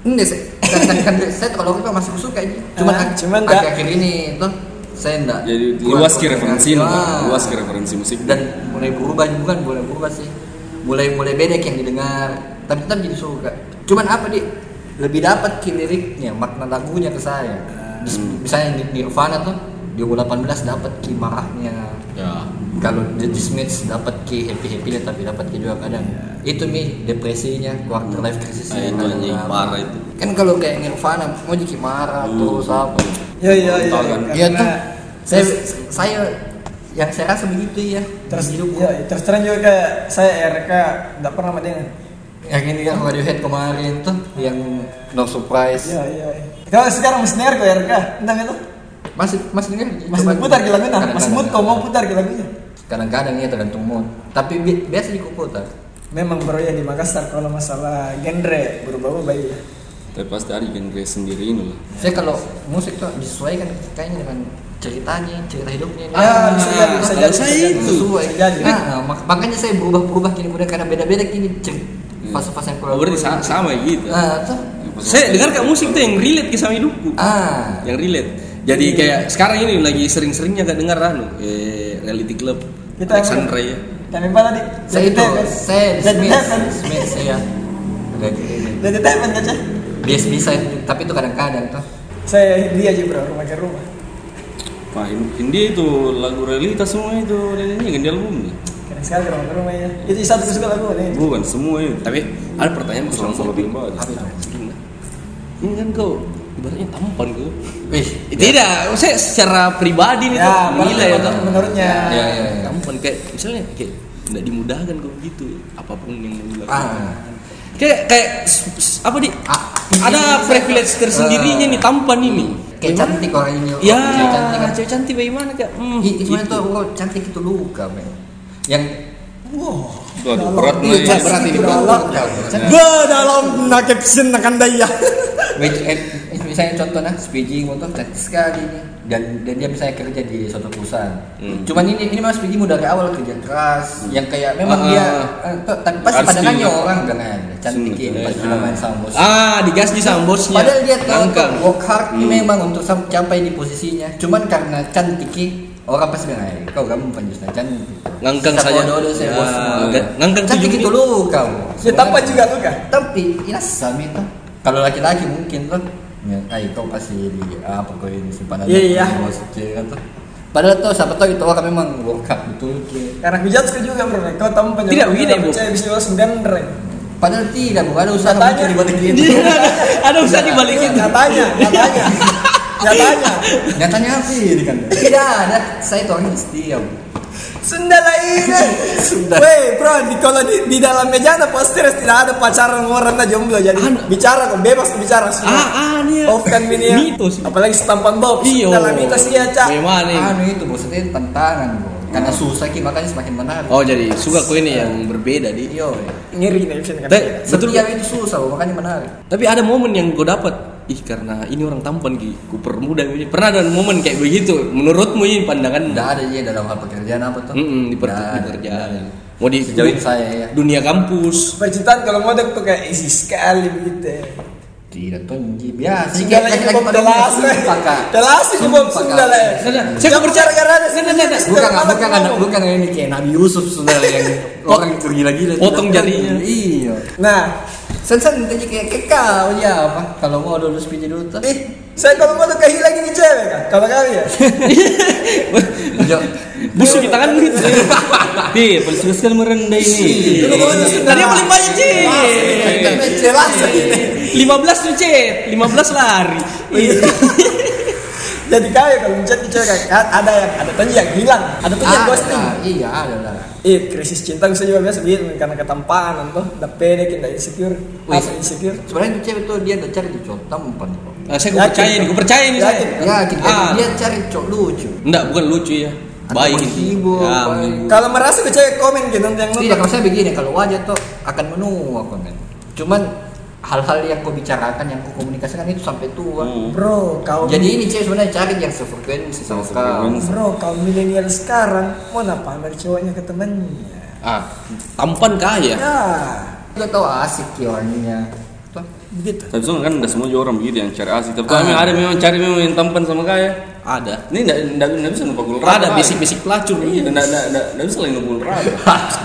S3: Enggak sih. Kan, kan, kan, saya kalau kita masih suka aja. Cuma
S1: Ah,
S3: kan
S1: cuman enggak.
S3: akhir-akhir ini tuh saya enggak.
S2: jadi
S3: kurang
S2: luas ke
S3: komunikasi.
S2: referensi
S3: Ah.
S2: luas ke referensi musik
S3: Dan mulai berubah bukan mulai berubah sih. Mulai mulai beda yang didengar. Tapi tetap jadi suka. Cuman apa di lebih dapat ke liriknya, makna lagunya ke saya. Dis-
S4: Hmm.
S3: Misalnya di Nirvana tuh di umur 18 dapat ki marahnya.
S4: ya
S3: Kalau The The Smiths dapat ki happy happy tapi dapat ki juga kadang.
S4: Ya.
S3: Itu mi depresinya, quarter life crisisnya.
S4: Ayo,
S3: kadang
S4: anjing,
S3: dapat
S4: parah itu. Hmm.
S3: kan kalau kayak Nirvana mau jadi marah terus apa
S1: ya ya ya
S2: Tahu kan?
S3: iya tuh
S1: karena-
S3: saya saya yang saya rasa begitu ya
S1: terus
S3: hidup
S1: ya, terus terang juga kayak saya RK nggak pernah sama dia
S3: yang ini yang Radiohead kemarin tuh yang no surprise
S1: iya iya iya. kalau sekarang masih denger kok RK entah itu
S3: masih masih dengar
S1: masih
S3: Coba-
S1: putar ke lagunya masih
S3: kadang-kadang.
S1: mood kau mau putar ke lagunya
S3: kadang-kadang ya tergantung mood tapi bi- biasa di putar
S1: memang bro ya di Makassar kalau masalah genre berubah ubah ya
S2: tapi pasti ada genre sendiri ini lah
S3: saya kalau musik tuh disesuaikan kayaknya dengan ceritanya cerita hidupnya Nah,
S1: Ah, bisa jadi, bisa
S4: kalau
S1: jadi,
S4: saya
S1: bisa jadi.
S4: itu.
S3: sesuai
S1: Bisa jadi.
S3: Nah, mak- makanya saya berubah-berubah kini mudah karena beda-beda kini cerita fase-fase yang kurang
S4: Oh, berarti sa- sama gitu
S3: Nah, tuh.
S4: Saya dengar kayak musik tuh yang relate ke sama hidupku.
S3: Ah,
S4: Yang relate. Jadi
S3: Iya,
S4: kayak sekarang ini lagi sering-seringnya gak dengar anu eh reality club
S1: Kita-
S4: Alexandra ya.
S1: kami bala di
S3: saya itu,
S4: kan?
S3: saya
S1: dan di
S3: Smith, Smith saya. Agak gini.
S1: dan di Tepen kaca
S3: Bias bisa, tapi itu kadang-kadang tuh.
S1: saya dia aja bro rumah ke rumah
S2: Wah, in- India itu lagu realita semua itu nyanyinya kan di albumnya
S1: keren sekali ke rumah ke rumah ya itu satu kesuka lagu nih
S2: bukan semua itu
S4: Tapi ada pertanyaan
S2: Soal
S4: buat
S2: soal
S4: kamu.
S2: banget
S4: Ini kan kau ibaratnya tampan gue
S3: Wih,
S4: tidak saya secara pribadi nih tuh
S1: Ya,
S4: menilai ya tuh
S1: menurut- menurutnya.
S3: Ya, ya, ya.
S4: tampan kayak misalnya kayak nggak dimudahkan gue gitu apapun yang mau dilakukan
S3: Ah.
S4: kayak kayak s- s- apa di
S3: Ah.
S4: ada privilege tersendirinya nih tampan ini
S3: Kayak cantik orang ini.
S4: ya
S3: orang cewek cantik kan.
S4: cewek cantik bagaimana kayak hmm,
S3: Ih, Itu
S4: gitu.
S3: itu orang cantik itu luka, men. Yang
S2: Tuh, aduh, berat nih.
S3: Berat, Iya, berat ini, berat.
S1: Dalam. Berdalam nak caption akan daya.
S3: Which- eh, misalnya contohnya SPG motor cantik sekali nih dan dan dia misalnya kerja di suatu perusahaan.
S4: Hmm.
S3: Cuman ini ini mas SPG udah dari awal kerja keras yang kayak memang
S4: Ah,
S3: dia
S4: ah. Hmm.
S3: eh, tuh, tapi pasti
S2: Harus
S3: pandangannya
S2: diingat.
S3: orang kan, eh, dengan cantikin
S2: Sungguh,
S3: pas
S2: eh,
S3: sudah
S2: ah.
S3: main sama bos.
S4: ah Hmm. digas di sama bosnya
S3: Padahal dia tahu tuh
S4: Ngangkang.
S3: work hard ini memang untuk sam- capai di posisinya. Cuman karena cantik orang pasti bilang, "Ay, kau kamu bukan justru cantik."
S4: ngangkang
S3: Saya
S4: saja
S3: bodoh, saya bos.
S4: Ya, ngangkang
S3: Cantik itu
S4: lu
S3: lu kau.
S1: Ya tampan juga lu kan?
S3: tapi ini sama itu kalau laki-laki mungkin tuh ya, ay kau pasti di apa kau ini simpanan
S1: Iya, iya.
S3: bos cewek kan tuh padahal tuh siapa tahu itu orang memang work hard betul ke
S1: Karena aku jatuh juga bro, kau tamu penjawab.
S4: Tidak, begini, Bu.
S1: Saya bisa jual sembilan bro.
S3: padahal tidak bukan ada usaha
S1: Katanya.
S3: muncul di balik itu
S4: Dia ada, ada
S3: Iya.
S4: usaha dibalikin Ah,
S1: Nyatanya, nyatanya, nyatanya.
S3: nyatanya apa ini kan tidak ada saya tuh ya. orang setia Bu.
S1: Sunda lain.
S3: Sunda.
S1: Weh bro, di, kalau di, di dalam meja ada poster tidak ada pacaran orang ada jomblo jadi
S4: Anu.
S1: bicara kok bebas bicara
S4: ah
S1: semua.
S4: ah nih
S1: Off kan ini ya.
S4: mitos
S1: Apalagi setampan Bob.
S4: Iya.
S1: Dalam itu sih ya cak.
S4: Memang nih.
S3: anu itu maksudnya tantangan Bu. karena susah ki makanya semakin menarik
S4: Oh jadi suka kau ini yang berbeda di.
S3: iyo
S1: Ngeri nih bisa kan.
S4: Tapi betul.
S3: setia itu susah Bu, makanya menarik
S4: Tapi ada momen yang kau dapat. Ih karena ini orang tampan ki, ku permudah ini. Pernah ada momen kayak begitu? Menurutmu ini pandangan?
S3: tidak ada ya dalam hal pekerjaan apa tuh
S4: Hmm. Mm-mm, di, per-
S3: Nggak
S4: di
S3: ada.
S4: pekerjaan. Mau di
S3: sejauh
S4: du-
S3: saya ya
S4: dunia kampus.
S1: Percintaan kalau model tuh kayak easy sekali begitu.
S3: Tidak Ya, tonji biasa.
S1: Sunda Iya, lagi kebom telas. Telas kebom Sunda lagi.
S4: Saya
S1: Jangan
S4: percaya-
S1: bicara karena ada
S4: Nggak, nggak, nggak.
S3: Bukan bukan anak bukan ini kayak Nabi Yusuf sudah yang orang itu gila-gila.
S4: Potong
S3: Sudah-
S4: jarinya.
S3: Iya.
S1: Nah,
S3: Sensen tadi kayak kekal ya apa? Kalau mau lulus PJ dulu tuh.
S1: ih, saya kalau mau tuh kayak lagi nih cewek kan. Kalau kali ya.
S3: Jo-
S4: Busuk di tanganmu itu.
S2: Di, polisi sekali merendah
S4: Iya.
S2: ini.
S1: Dulu kalau di Sunda.
S4: Tadi yang paling banyak Ci.
S3: Iya,
S1: Jelas ini.
S4: 15 tuh Ci. 15 lari.
S1: Jadi kaya kalau mencet ke cewek kan ada yang ada tuh yang hilang, ada tuh yang
S3: Ada,
S1: ghosting.
S3: Iya ada lah.
S1: Ih, krisis cinta gue juga biasa begitu karena ketampanan tuh, udah pede kita insecure,
S3: Wih.
S1: apa insecure.
S3: Sebenarnya itu cewek tuh dia udah cari di cowok tampan. kok.
S4: Nah, saya gua percaya nih, gua percaya nih saya.
S1: Yakin.
S3: Ya kita
S4: Ah.
S3: dia cari cowok lucu.
S4: Enggak, bukan lucu ya.
S3: Atau
S4: Baik
S3: menghibur,
S4: Ya,
S3: baik.
S4: menghibur.
S1: Kalau merasa tuh cewek komen gitu nanti yang
S3: Tidak,
S1: nonton.
S3: kalau saya begini, kalau wajah tuh akan menua komen. Cuman hal-hal yang kau bicarakan, yang kau komunikasikan itu sampai tua.
S2: Hmm.
S1: Bro, kau
S3: Jadi ini cewek sebenarnya cari yang sefrekuensi sama kau.
S2: Sefrekuensi.
S1: Bro, kaum milenial sekarang mau napa pamer cowoknya ke temennya?
S4: Ah, tampan kaya.
S1: Ya,
S3: Gak tau asik ya orangnya. Tuh,
S1: begitu.
S2: Tapi soalnya kan nggak semua juga orang begitu yang cari asli. Tapi
S3: Ah.
S2: memang ada memang cari memang yang tampan sama kaya.
S4: Ada.
S2: Ini nggak nggak nggak bisa numpuk rata.
S4: Ada bisik-bisik pelacur.
S2: Iya, nggak nggak nggak nggak bisa lagi numpuk rata.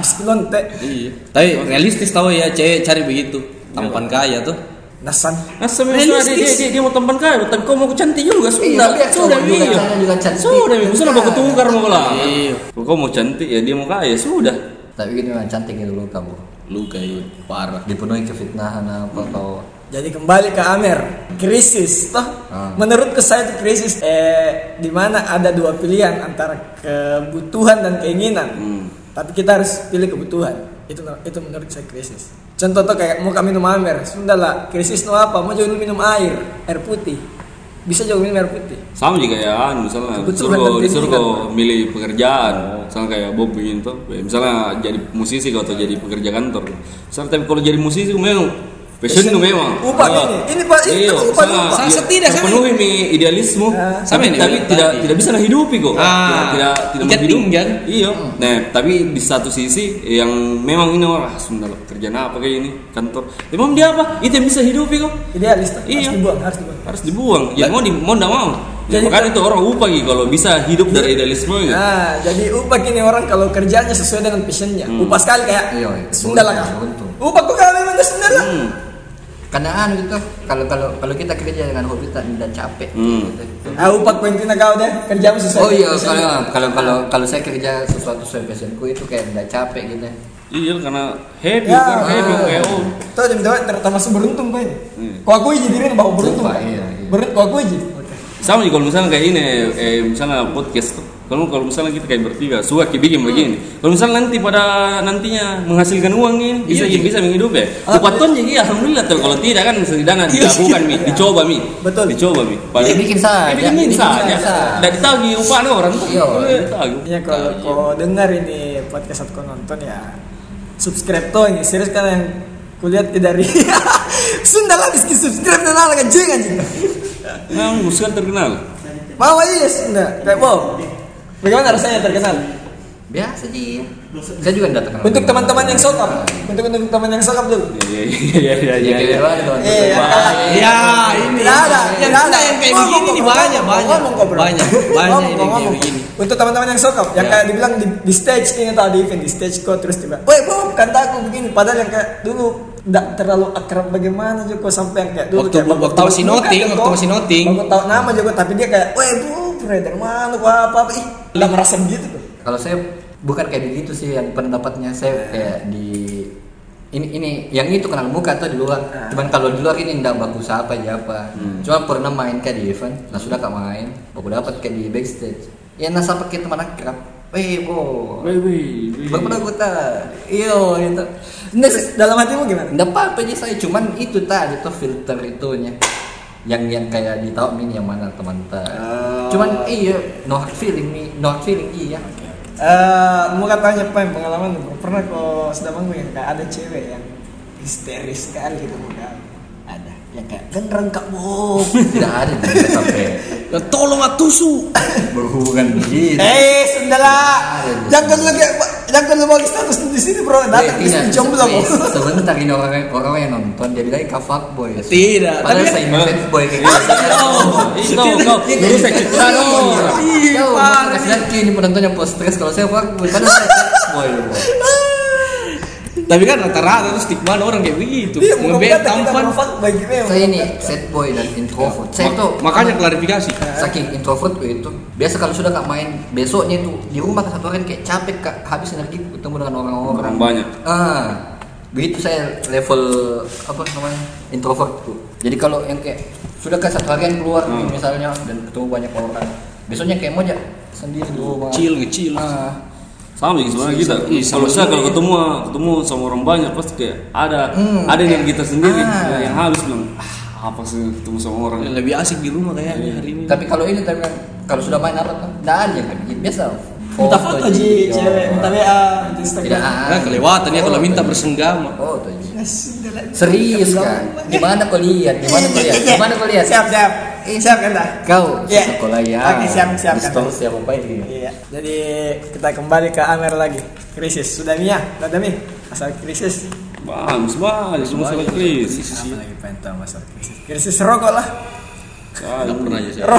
S1: Bismillahirrahmanirrahim.
S4: Iya. Tapi realistis tahu ya, cewek cari begitu. Tampan kaya tuh.
S1: Nasan.
S2: Nah, sebenarnya dia, dia,
S4: Realistis.
S2: dia, dia mau tampan kaya, tapi kau mau cantik juga
S3: tapi
S2: sudah.
S3: ya
S2: sudah
S3: cowok juga,
S2: iya.
S3: cewek juga cantik.
S2: Sudah, iya. Sudah baku tukar mau lah.
S4: Iya.
S2: Kau mau cantik ya dia mau kaya sudah.
S3: Tapi gini memang cantik itu lu kamu.
S4: Lu kayak iya. parah.
S3: Dipenuhi kefitnahan apa kau.
S1: Jadi kembali ke Amer, krisis toh.
S3: Ah.
S1: Menurut saya itu krisis eh di mana ada dua pilihan antara kebutuhan dan keinginan.
S2: Hmm.
S1: Tapi kita harus pilih kebutuhan. Itu itu menurut saya krisis. Contoh tuh kayak mau kamu minum Amer, sudah lah. Krisis no apa? Mau juga lu minum air, air putih. Bisa juga minum air putih.
S2: Sama juga ya, anu, misalnya
S1: Kebetulan
S2: disuruh
S1: penting
S2: disuruh
S1: juga.
S2: kau milih pekerjaan, misalnya kayak Bob ingin tuh, ya, misalnya jadi musisi kau atau jadi pekerja kantor. Misalnya tapi kalau jadi musisi kau memang passion
S1: Passion.
S2: kau memang.
S1: Upah
S2: Ah.
S1: ini, ini pa- ini
S2: Iya,
S1: kan upah,
S2: misalnya
S1: upah.
S2: dia-
S4: Setidak, sama
S2: terpenuhi mi idealismu,
S1: Ah.
S4: Sama
S2: tapi,
S4: ini,
S2: tapi
S4: tadi.
S2: tidak tidak bisa menghidupi kok.
S4: Ah,
S2: Tidak tidak tidak
S4: ikat
S2: menghidupi.
S4: pinggang. Hmm.
S2: Iya. Nah, tapi di satu sisi yang memang ini orang ah, sebentar lah, kerjaan apa kayak ini kantor. Emang dia apa? Itu yang bisa hidupi kok.
S1: Idealis toh. Harus
S2: Iya.
S1: dibuang, harus dibuang.
S2: harus dibuang ya mau di mau nggak mau ya,
S1: Jadi-
S2: makanya itu orang upah gitu kalau bisa hidup dari idealisme gitu
S1: Nah, jadi upah gini orang kalau kerjanya sesuai dengan passionnya. Upah sekali kayak
S3: Iya, iya.
S1: Sunda lah.
S3: Betul,
S1: Kak.
S3: betul.
S1: Upah kok kalau memang ke Sunda lah.
S2: hmm.
S3: Karena anu gitu, kalau kalau kalau kita kerja dengan hobi kita tidak capek.
S2: Hmm.
S3: Gitu.
S1: Ah, upah kuentina kau deh, kerjamu sesuai.
S3: Oh iya,
S1: dengan passion.
S3: kalau kalau kalau kalau saya kerja sesuatu sesuai passionku itu kayak tidak capek gitu.
S2: iya karena happy
S1: Ya.
S3: Iya,
S2: kan happy
S1: Ah.
S2: kayak oh
S1: Tuh jadi terutama beruntung kan.
S2: Iya.
S1: Kok aku jadi diri bahwa beruntung.
S3: Hmm. Sumpah,
S1: Pak.
S3: iya, iya.
S1: Gua puji. Oke.
S2: sama juga kalau misalnya kayak ini eh, misalnya podcast tuh. kalau kalau misalnya kita kayak bertiga suka kayak bikin begini kalau misalnya nanti pada nantinya menghasilkan uang ini bisa
S4: Iya, iya.
S2: bisa menghidupi Empat ton jadi iya, alhamdulillah tuh kalau tidak kan setidaknya
S4: Iya,
S2: dilakukan mi dicoba mi
S1: Betul.
S2: dicoba mi
S3: Ya, bikin saja.
S2: Ya, bikin
S3: Bikin
S2: saja Iya.
S3: saja.
S2: dan ditagi upah no, orang tuh
S3: Iya.
S2: Iya, ditagi.
S1: Ya kalau kau dengar ini podcast atau kau nonton ya subscribe tuh ini serius kan yang kulihat ke dari Sunda lah kan, meski subscribe dan ala anjing anjing.
S2: nah Muskan terkenal
S1: Mau iya Sunda. Kayak wow. Bagaimana rasanya terkenal?
S3: biasa sih saya juga nggak terkenal
S1: Untuk teman-teman yang sokap, untuk untuk teman yang sokap dulu.
S2: Iya, iya
S3: ya
S2: iya iya iya
S3: kebetulan teman-teman.
S1: Iya,
S3: Wah,
S1: iya.
S4: Ya, ini.
S1: Tidak ada,
S4: yang
S1: tidak ada.
S4: Sunda yang kayak
S1: Ngomong,
S4: begini nih
S1: ngomong,
S4: banyak,
S1: ngomong,
S4: banyak.
S1: ngomong kok, bro.
S4: Banyak, banyak
S1: Ngomong,
S4: ini yang kayak
S1: ngomong.
S4: begini.
S1: Untuk teman-teman yang sokap, yang
S4: Ya.
S1: kayak dibilang di, di stage ini tadi, event di stage kok terus tiba, weh bu, kata aku begini. Padahal yang kayak dulu tidak terlalu akrab bagaimana Joko sampai yang kayak dulu
S4: Waktu-
S1: kayak,
S4: waktu masih noting, waktu masih noting.
S1: Bagus tahu nama Joko, tapi dia kayak, weh bu, pernah dari mana, wah apa apa, ih, tidak merasa begitu tuh.
S3: kalau saya bukan kayak begitu sih yang pendapatnya
S1: Iya.
S3: saya kayak di ini ini yang itu kenal muka tuh di luar
S1: Ah.
S3: cuman kalau di luar ini ndak bagus apa ya apa
S1: Hmm.
S3: cuma pernah main kayak di event nah sudah kak main baru dapat kayak di backstage ya nah sampai ke teman akrab weh bo
S2: Wih, wih, wih.
S3: baru gue iyo itu
S1: Nah, dalam hatimu gimana?
S3: ndak apa apa aja saya cuman itu tadi tuh filter itunya yang yang kayak di tahu ini yang mana teman tak
S1: Ah.
S3: cuman iya no hard feeling nih no hard feeling iya
S1: Eh, mau katanya apa yang pengalaman lu? pernah kok sedang manggung yang kayak ada cewek yang histeris sekali gitu muka ada yang kayak genreng kak bob
S3: tidak ada di sampai
S4: Lah, Ya, Tolong Oh, atusu.
S3: berhubungan begini
S1: eh
S3: Iya,
S1: sendala jangan lu kayak jangan lu bagi status di sini bro datang di sini jomblo Iya,
S3: Eh,
S1: kok
S3: Iya, sebentar ini orang orang yang nonton dia bilang kak fuckboy ya
S4: Tidak,
S3: padahal
S4: tapi-
S3: saya ingin fuckboy kayak gitu
S1: Oh,
S2: itu kau lu sekitar
S3: Iya,
S4: parah
S3: kasihan kini penonton yang post stress kalau saya fuckboy padahal saya fuckboy loh.
S4: Tapi kan rata-rata tuh stigma orang kayak begitu.
S1: dia mau
S4: Ngeband
S1: kata kita
S4: tampan.
S1: profan bagi memang
S3: saya ini sad boy dan introvert saya
S4: Mak-
S3: tuh
S4: makanya klarifikasi.
S3: saking introvert gue itu biasa kalau sudah kak main besoknya itu di rumah satu hari kayak capek kak habis energi ketemu dengan orang-orang
S2: Orang banyak.
S3: ah begitu saya level apa namanya introvert tuh jadi kalau yang kayak sudah kak satu harian keluar
S2: Hmm.
S3: nih misalnya dan ketemu banyak orang besoknya kayak mau aja sendiri di rumah
S4: Chill, ngecil.
S3: ah
S2: sama sih sebenarnya kita
S4: Iya, sama
S2: kalau saya
S4: juga
S2: kalau
S4: ya.
S2: ketemu ketemu sama orang banyak pasti kayak ada
S3: Hmm,
S2: ada
S3: kayak-
S2: energi tersendiri
S3: Ah.
S2: Nah, yang habis bilang ah, apa sih ketemu sama orang
S4: Lebih asik di rumah kayaknya hari ini.
S3: tapi kalau ini tapi kan, kalau sudah main apa tuh nggak ada yang kayak begini. biasa
S1: minta foto ji cewek minta wa minta
S3: tidak
S1: instagram
S3: ada.
S4: Nah, kelewatan ya kalau minta
S3: Foto, Ji.
S4: bersenggama.
S3: Foto, Ji.
S1: Nah, sendela.
S3: Oh, Serius kak? Gimana kau lihat? Gimana kau lihat? Gimana kau lihat?
S1: Iya, siap siap siap kan dah
S3: Kau
S1: Iya.
S3: sekolah ya.
S1: Oke, siap, siap, Kak.
S3: Distors siapa apa ini?
S1: Iya, jadi kita kembali ke Amer lagi. Krisis sudah Mia, sudah Mi. Asal krisis.
S2: bang semua semua salah krisis
S1: Apa lagi pengen tahu masalah krisis? Krisis rokok lah.
S2: Ah,
S4: Nggak pernah ya, aja
S3: Iya.
S4: saya.
S1: Ro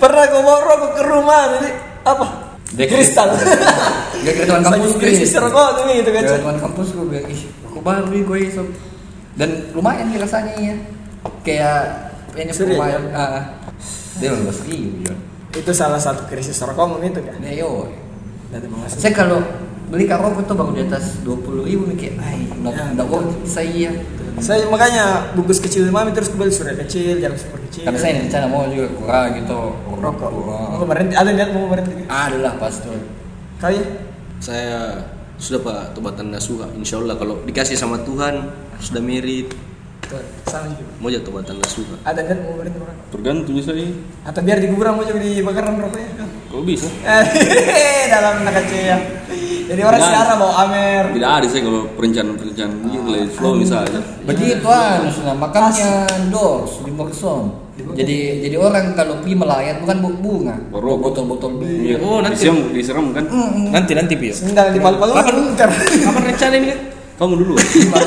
S1: pernah gue bawa rokok ke rumah jadi apa?
S3: Dek-
S1: kristal.
S3: Gak kira teman kampus Iya.
S1: Saking krisis rokok tuh Mi itu kan.
S3: Gak teman kampus gue bilang ih aku baru nih gue isep. Dan lumayan nih rasanya ya. Kayak ini
S1: Serius,
S3: lumayan. ah. Dia lima belas ribu ya.
S1: Itu salah satu krisis rokok Mi, itu kan.
S3: Nah, yo. Iya,
S1: Dari mengasuh.
S3: Saya kalau beli karok itu baru di atas dua puluh ribu mikir, ay,
S1: Ya,
S3: nggak nggak worth it saya. ya."
S1: Saya makanya bungkus kecil mami terus kembali surat kecil, jarum super kecil.
S3: Tapi saya rencana mau juga kurang gitu.
S1: rokok.
S3: Kurang.
S1: Mau berhenti, ada lihat mau berhenti.
S3: Adalah
S2: Iya.
S3: pasti.
S1: Kau ya?
S4: Saya sudah pak tobatan nasuha, insya Allah kalau dikasih sama Tuhan sudah merit,
S1: Tuh, Sama juga.
S4: mau jatuh tobatan nasuha.
S1: Ada lihat mau berhenti orang.
S2: tergantung bisa ini
S1: Atau biar dikuburan mau juga dibakaran rokoknya.
S2: kok bisa
S1: Eh, dalam anak kecil ya. Jadi orang
S2: Enggak.
S1: searah mau Amer.
S2: tidak ada sih kalau perencanaan perencanaan gitu lagi flow misalnya
S3: Begitu
S2: Iya.
S3: kan, nah, makanya dos di Morsom. Jadi jadi orang kalau pergi melayat bukan bawa bunga, bawa
S2: Rokok.
S3: botol-botol bir.
S2: Iya,
S4: Oh, nanti.
S2: disiram diseram kan
S4: Nanti nanti pio.
S1: Sendal di palu-palu
S4: Kapan?
S1: lingkar.
S4: Kapan rencana ini kan?
S2: kamu dulu
S1: Iya,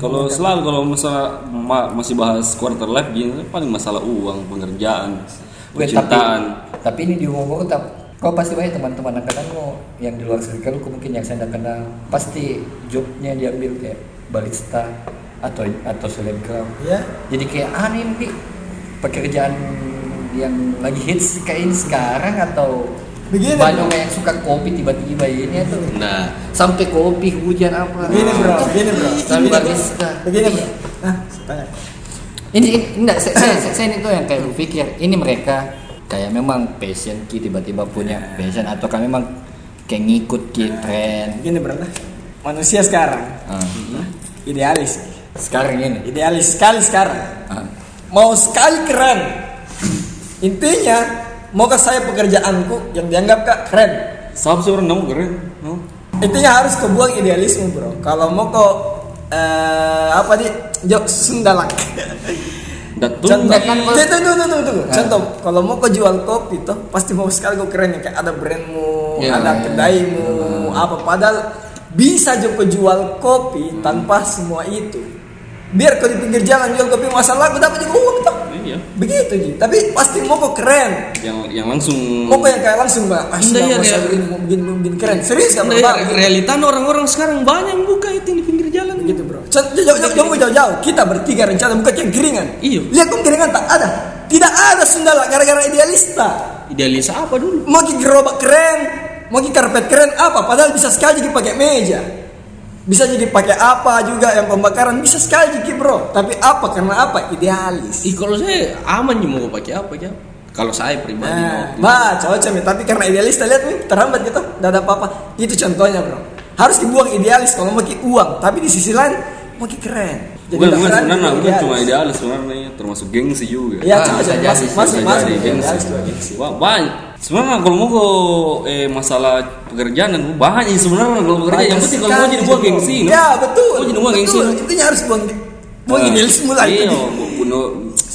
S2: kalau selalu kalau masalah ma- masih bahas quarter life gini paling masalah uang pekerjaan
S3: Weh, tapi,
S2: percintaan
S3: tapi ini di umur tetap kau pasti banyak teman-teman angkatanmu yang di luar circle kau mungkin yang saya tidak kenal pasti jobnya diambil kayak barista atau atau selebgram
S1: Ya.
S3: jadi kayak aneh nih pekerjaan yang lagi hits kayak ini sekarang atau
S1: Begini,
S3: banyak
S1: Bro.
S3: yang suka kopi tiba-tiba ini atau
S4: Nah,
S3: sampai kopi hujan apa
S1: Begini bro, begini bro.
S3: Tapi
S1: Begini bro.
S3: barista.
S1: Begini bro. Nah, saya tanya.
S3: ini ini- enggak saya, saya, saya, saya ini tuh yang kayak berpikir ini mereka kayak memang passion ki tiba-tiba punya passion atau kan memang kayak ngikut ki tren
S1: Gini bro, Nah, manusia sekarang
S3: Ah.
S1: idealis,
S3: sekarang ini
S1: idealis sekali sekarang.
S3: Ah.
S1: Mau sekali keren. Intinya, maukah saya pekerjaanku yang dianggap kak keren?
S2: Siapa sih orang nemu keren? No?
S1: Intinya harus kau buang idealisme bro. Kalau mau kau eh, apa di jok sundalak.
S2: Datung.
S1: Contoh,
S3: Enggak kan, kalau-
S1: Tuh, tuh, tuh, tuh, tuh, tuh.
S3: Ah.
S1: Contoh, kalau mau kau jual kopi toh pasti mau sekali kau keren ya kayak ada brandmu,
S3: Iya,
S1: ada
S3: iya.
S1: kedaimu, apa padahal bisa juga kau jual
S3: Hmm.
S1: kopi tanpa semua itu. Biar kau di pinggir jalan jual kopi masalah kau dapat juga uang toh.
S2: Iya.
S1: Begitu Ji. Tapi pasti mau kau keren.
S2: Yang yang langsung.
S1: Mau kau yang kayak langsung mbak. Ah,
S4: Enggak,
S1: sudah,
S4: iya,
S1: mau saya
S4: iya.
S1: begini, mau begini, mau begini keren. Serius kan
S3: Iya,
S4: Karena ya, realita orang-orang sekarang banyak yang buka itu yang di pinggir jalan
S1: gitu bro jauh jauh jauh jauh jauh, jauh. kita bertiga rencana buka yang keringan
S4: Iya.
S1: lihat kok keringan tak ada tidak ada sundala gara-gara idealista
S4: Idealis apa dulu?
S1: mau ki gerobak keren mau ki karpet keren apa padahal bisa sekali jadi pakai meja bisa jadi pakai apa juga yang pembakaran bisa sekali jadi bro tapi apa karena apa idealis
S4: Ih kalau saya aman nih mau pakai apa ya? Kalau saya pribadi
S1: nah
S4: mau.
S1: bah cocok nih tapi karena idealista lihat nih terhambat gitu tidak ada apa-apa itu contohnya bro harus dibuang idealis kalau mau ki uang tapi di sisi lain mau ki keren
S2: Bukan,
S1: tidak
S2: bukan
S1: keren,
S2: sebenarnya,
S1: jadi gitu, ya?
S2: bukan cuma idealis sebenarnya, termasuk gengsi juga.
S1: Iya,
S3: Ah,
S1: coba
S3: bisa
S1: coba
S3: jadi,
S1: masuk
S3: bisa
S1: masuk
S2: Bisa
S1: masuk.
S2: jadi
S1: Idealis
S2: gengsi.
S1: juga, gengsi.
S2: Wah, banyak. Sebenarnya kalau mau kok eh, masalah pekerjaan dan banyak sebenarnya kalau pekerjaan yang penting kalau mau jadi buah gengsi. no?
S1: Ya betul.
S2: Mau jadi buah gengsi.
S1: Betul, Intinya harus buang buang
S2: Nah,
S1: idealis mula itu.
S2: Iya,
S1: Ji.
S2: bu- bunuh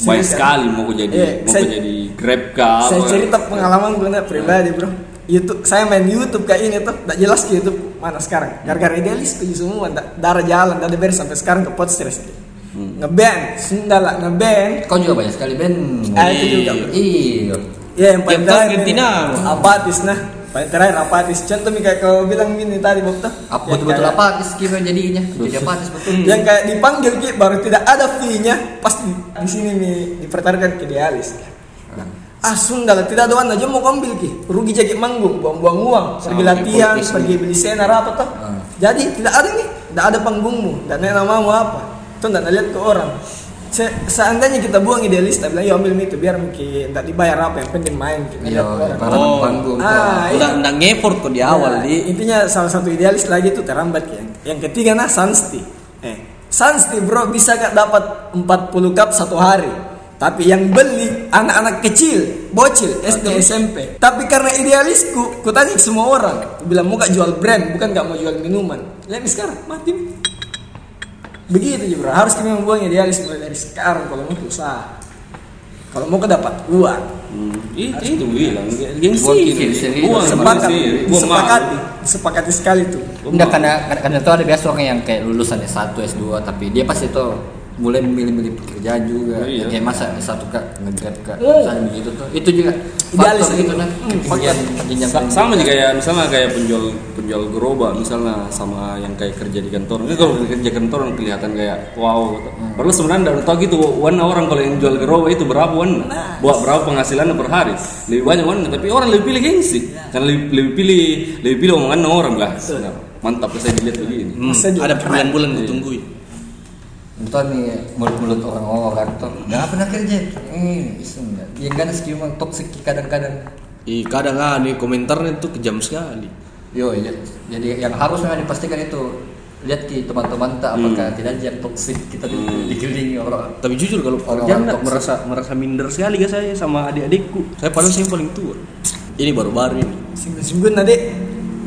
S2: baik sekali mau kok jadi
S1: Iya,
S2: mau
S1: saya-
S2: kok jadi grab kah?
S1: Saya
S2: apa.
S1: cerita pengalaman gue nih, pribadi bro. YouTube saya main YouTube kayak ini tuh tidak jelas di YouTube mana sekarang. Gara-gara idealis tuh semua ndak- darah jalan dari beres sampai sekarang ke pot stress.
S2: Hmm.
S1: Ngeband, sundala ngeband.
S3: kau juga banyak sekali band
S1: Ah, itu juga, bro.
S3: iya
S1: Ya yang paling terakhir
S4: Yang terakhir,
S1: ini,
S4: Tina.
S1: apatis nah. Paling terakhir apatis. Contoh nih kayak kau bilang gini tadi Bob tuh.
S3: apa
S1: Yang
S3: betul-betul
S1: kayak-
S3: apa skip jadinya jadi apa betul
S1: yang kayak dipanggil Ki, baru tidak ada fee-nya pasti di
S3: Ah.
S1: sini nih dipertaruhkan ke idealis ah sundal tidak ada aja mau kau ambil ki rugi jadi manggung buang-buang uang pergi
S3: kayak
S1: latihan
S3: politis
S1: pergi beli senar apa toh
S3: Hmm.
S1: jadi tidak ada nih tidak ada panggungmu dan yang namamu apa itu tidak lihat ke orang Se- seandainya kita buang idealis tapi bilang "Yo, ambil itu biar mungkin tidak dibayar apa yang penting main kita
S3: iya
S1: lihat ke orang.
S3: pengalaman
S4: Oh.
S3: panggung
S1: Ah,
S4: Nah,
S1: iya.
S4: Udah udah ngeport kok di awal
S1: Nah,
S4: di.
S1: intinya salah satu idealis lagi itu terambat ya. Yang ketiga nah Sansti. Eh, Sansti bro bisa gak dapat 40 cup satu hari? Tapi yang beli anak-anak kecil, bocil, SD, SMP. Tapi karena idealisku, ku tanya ke semua orang. Ku bilang mau gak jual brand, bukan gak mau jual minuman. Lihat nih sekarang, mati. Begitu aja bro, harus kita membuang idealis mulai dari sekarang kalau mau usaha. Kalau mau kedapat uang.
S2: Hmm, itu itu bilang gengsi.
S3: Buang kiri sendiri,
S2: Buang
S1: Sepakat,
S2: sendiri, buang malu.
S1: disepakati, disepakati sekali tuh.
S2: Buang
S3: Enggak
S2: malu.
S3: karena karena, karena itu ada biasa orang yang kayak lulusan S1, S2 tapi dia pas itu mulai memilih-milih pekerjaan juga.
S2: Iya.
S3: Kayak masa S1 Kak ngegrab Kak.
S1: Hmm.
S3: Misalnya begitu tuh. Itu juga
S1: Idealis
S3: faktor
S1: itu.
S3: gitu nah.
S1: Hmm,
S3: Kemudian jenjang gitu.
S2: Sa-
S3: pendidikan.
S2: sama juga kayak misalnya kayak penjual penjual gerobak misalnya sama yang kayak kerja di kantor ini kalau kerja kantor kelihatan kayak wow gitu.
S1: Hmm.
S2: padahal sebenarnya nggak tahu gitu warna orang kalau yang jual gerobak itu berapa warna
S1: Nah.
S2: buat berapa penghasilannya per hari lebih banyak warna tapi orang lebih pilih gengsi
S1: Iya.
S2: karena lebih, lebih pilih lebih pilih omongan orang lah Nah, mantap saya dilihat begini
S4: Hmm,
S1: Saya juga
S4: ada bulan-bulan gue tungguin.
S3: Itu nih mulut-mulut orang-orang kan tuh. Enggak pernah kerja. Eh, iseng enggak. Ya kan skill toksik kadang-kadang.
S4: Ih kadang ah nih komentarnya tuh kejam sekali.
S3: Yo, ya. jadi yang harus memang dipastikan itu lihat ki teman-teman tak apakah tidak ada yang toksik kita di dikelilingi orang.
S4: Tapi jujur kalau
S3: Orang
S4: pekerjaan
S3: orang
S4: tak merasa merasa minder sekali gak saya sama adik-adikku. Saya padahal saya yang paling tua. Ini baru-baru ini.
S1: Singgung-singgung nanti.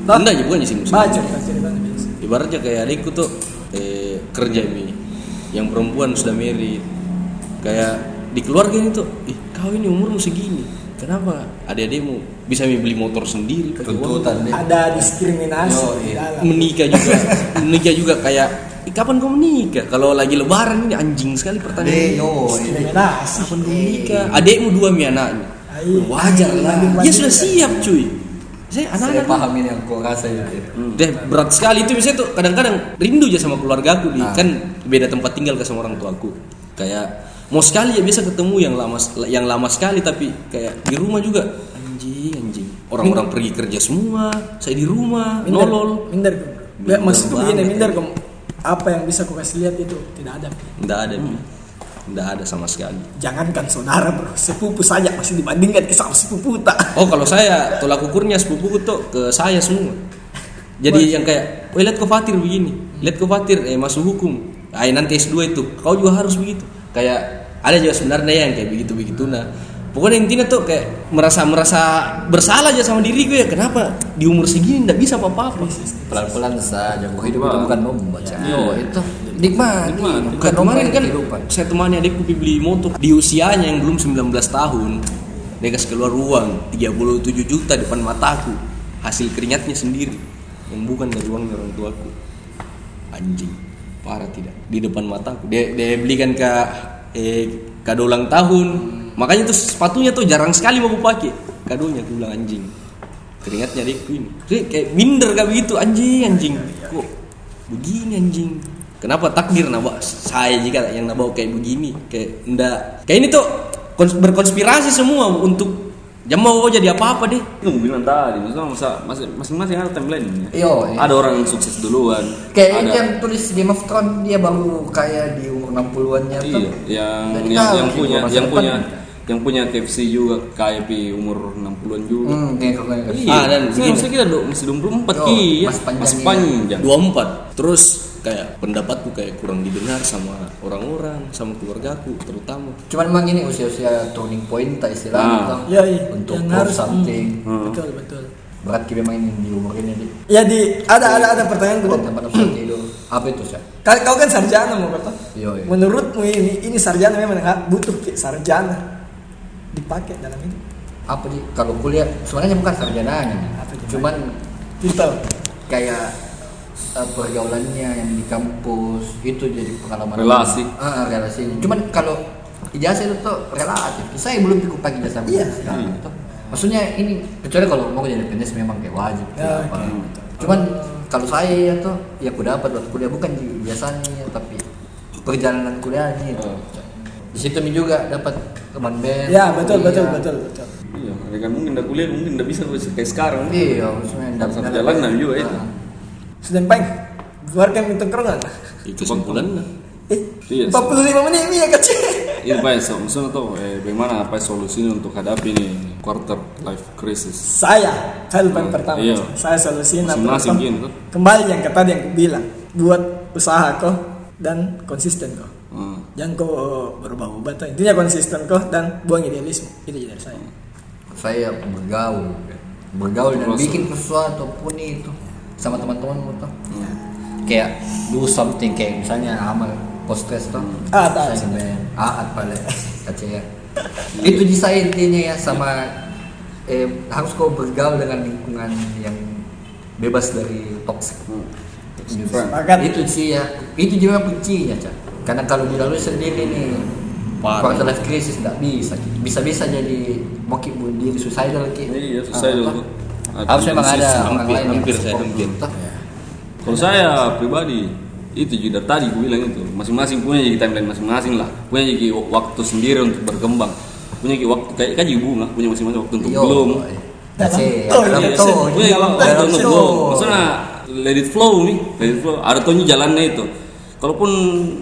S1: Toh?
S4: Enggak ya bukan singgung
S1: Baca kita ceritanya biasa.
S4: Ibaratnya kayak adikku tuh eh, kerja ini, yang perempuan sudah married. Kayak di keluarga ini tuh, ih kau ini umurmu segini, kenapa adik-adikmu bisa beli motor sendiri pakai uang
S3: Tuntutan deh.
S1: Ada diskriminasi
S3: Yo,
S1: di
S3: iya.
S1: dalam.
S4: menikah juga menikah juga kayak "Ih, kapan kau menikah kalau lagi lebaran ini anjing
S3: Deh,
S4: sekali pertanyaan
S3: yo.
S1: iya.
S3: ini.
S1: Diskriminasi.
S4: kapan kau menikah adekmu dua mi anaknya
S1: Ayo.
S4: wajar lah
S1: Banding-banding.
S4: dia sudah siap cuy saya
S3: Saya
S4: anak-anak
S3: paham ini yang kau rasa itu. ya.
S4: deh berat sekali itu misalnya tuh kadang-kadang rindu aja sama keluarga aku
S3: Ah.
S4: kan beda tempat tinggal ke sama orang tuaku kayak mau sekali ya bisa ketemu yang lama yang lama sekali tapi kayak di rumah juga anjing anjing orang-orang pergi kerja semua saya di rumah
S1: Minder.
S4: nolol
S1: Minder. Bro. Ya,
S4: Minder
S1: maksudku begini,
S4: banget.
S1: minder. Bro. Apa yang bisa ku kasih lihat itu tidak ada.
S4: nggak ada Mi. Tidak ada sama sekali.
S1: Jangankan saudara bro, sepupu saja masih dibandingkan ke sama sepupu tak.
S4: Oh kalau saya tolak ukurnya sepupuku tuh ke saya semua. Jadi yang kayak, oh lihat kau Fatir begini, lihat kau Fatir eh, masuk hukum, ah nanti S2 itu, kau juga harus begitu. Kayak ada juga sebenarnya yang kayak begitu begitu nah. Pokoknya intinya tuh kayak merasa merasa bersalah aja sama diriku ya kenapa di umur segini nggak bisa apa-apa.
S3: pelan-pelan saja bahwa hidup itu
S2: Kehidupan.
S3: bukan membaca
S2: Iya.
S3: oh, itu nikmat
S2: Nikmat.
S3: bukan
S4: kemarin kan
S3: kehidupan
S4: saya temani adikku pi- beli motor di usianya yang belum 19 tahun dia kasih keluar uang 37 juta depan mataku hasil keringatnya sendiri yang bukan dari uang orang tuaku anjing parah tidak di depan mataku dia, dia belikan ke eh, kado ulang tahun makanya tuh sepatunya tuh jarang sekali mau aku pakai kadonya aku bilang anjing keringatnya adikku ini Jadi kayak minder kayak begitu anjing anjing kok begini anjing kenapa takdir nawa saya jika yang nawa kayak begini kayak ndak kayak ini tuh kons- berkonspirasi semua untuk jangan mau jadi apa-apa deh
S2: Itu gue bilang tadi, maksudnya masa masa- masing-masing ada timeline
S3: Iya, iya.
S2: Ada orang yang sukses duluan.
S3: kayak
S2: ada,
S3: ini yang tulis Game of Thrones dia baru kaya di umur 60-an ya tuh.
S2: Iya, yang
S3: Jadi
S2: yang,
S3: tahu
S2: yang
S3: gitu
S2: punya
S3: masa
S2: yang
S3: depan.
S2: punya yang punya KFC juga kayak di umur 60-an juga.
S3: hmm, kayak kayak kayak-
S2: Iya,
S4: Ah, dan
S2: maksudnya-
S4: begini.
S2: maksudnya kita do- masih 24
S3: Oh,
S2: iya,
S3: masih panjang,
S2: masih
S3: iya.
S2: panjang.
S4: 24 terus kayak pendapatku kayak kurang didengar sama orang-orang sama keluargaku terutama
S3: cuman emang ini usia-usia turning point tak istilahnya
S2: Ah.
S3: tuh.
S1: Iya, iya.
S3: untuk
S1: Yang
S3: proof
S1: harus,
S3: something
S2: Hmm.
S1: Betul betul.
S3: berat kayak memang ini di umur ini di
S1: Ya di ada ada ada pertanyaan gue.
S3: dan tempat seperti itu apa itu sih
S1: Kau, kau kan sarjana mau kata.
S3: Iya, iya.
S1: Menurutmu ini ini sarjana memang nggak butuh Ki. sarjana dipakai dalam ini.
S3: apa di kalau kuliah sebenarnya bukan sarjananya
S1: Apa itu?
S3: cuman
S1: Kita
S3: kayak eh, pergaulannya yang di kampus itu jadi pengalaman
S2: Relasi.
S3: Ah, relasinya cuman kalau ijazah itu tuh relatif saya belum cukup pakai ijazah
S1: Iya.
S3: sekarang
S2: Hmm.
S3: tuh. maksudnya ini kecuali kalau mau jadi PNS memang kayak wajib
S1: Ya,
S3: apa. gitu.
S1: oke.
S3: cuman kalau saya tuh ya aku dapat waktu kuliah bukan di ijazahnya tapi perjalanan kuliahnya
S2: Oh.
S3: itu di situ juga dapat teman band
S1: ya betul
S3: kuliah.
S1: betul betul betul.
S2: Iya, mereka mungkin udah kuliah, mungkin udah bisa kayak sekarang. nah,
S3: iya maksudnya
S2: Harus ada jalanan juga ya. itu.
S3: Ah.
S1: Sudah peng. Keluarkan minta kerongan.
S4: itu sebulan lah
S1: Eh,
S2: Iya,
S1: 45 menit iya kecil.
S2: Iya, Pak, so, maksudnya tuh eh, bagaimana apa solusinya untuk hadapi ini quarter life crisis?
S1: Saya, saya lupa yang pertama.
S2: Iya.
S1: Saya solusinya
S2: Masing-masing iya, gini tuh.
S1: Kembali yang kata yang aku bilang, buat usaha kau dan konsisten kau.
S2: Hmm.
S1: Jangan kau berubah-ubah tuh. Intinya konsisten kau dan buang idealisme. Itu aja dari saya.
S3: saya bergaul bergaul dan
S2: Terus.
S3: bikin sesuatu pun itu sama teman-teman tuh kayak do something kayak misalnya amal post stress tuh
S1: Ah, tak.
S3: Saya ngeband. ah paling ya itu di saya intinya ya sama eh, harus kau bergaul dengan lingkungan yang bebas dari toxic
S1: Sepakat.
S3: itu sih ya itu juga kuncinya cak karena kalau dilalui sendiri nih
S4: Parah.
S3: quarter life crisis nggak bisa bisa bisa jadi mungkin bunuh diri suicidal ki
S2: Iya,
S3: Ah,
S2: suicidal.
S3: apa? harus memang ada
S4: Hampir-
S3: orang lain yang
S4: hampir saya
S3: support
S4: mungkin.
S3: kita.
S2: Kalau saya pribadi itu juga dari tadi gue bilang itu masing-masing punya jadi timeline masing-masing lah punya jadi waktu sendiri untuk berkembang punya jadi waktu kayak kan jadi bunga punya masing-masing waktu untuk
S3: Yo,
S2: belum
S3: eh.
S1: Dalam
S3: Asik,
S1: tol,
S3: dalam
S1: iya,
S3: tol.
S1: asik.
S2: punya
S1: Dalam
S2: waktu
S3: tol.
S2: untuk belum maksudnya let it flow nih let it flow ada tuh jalannya itu kalaupun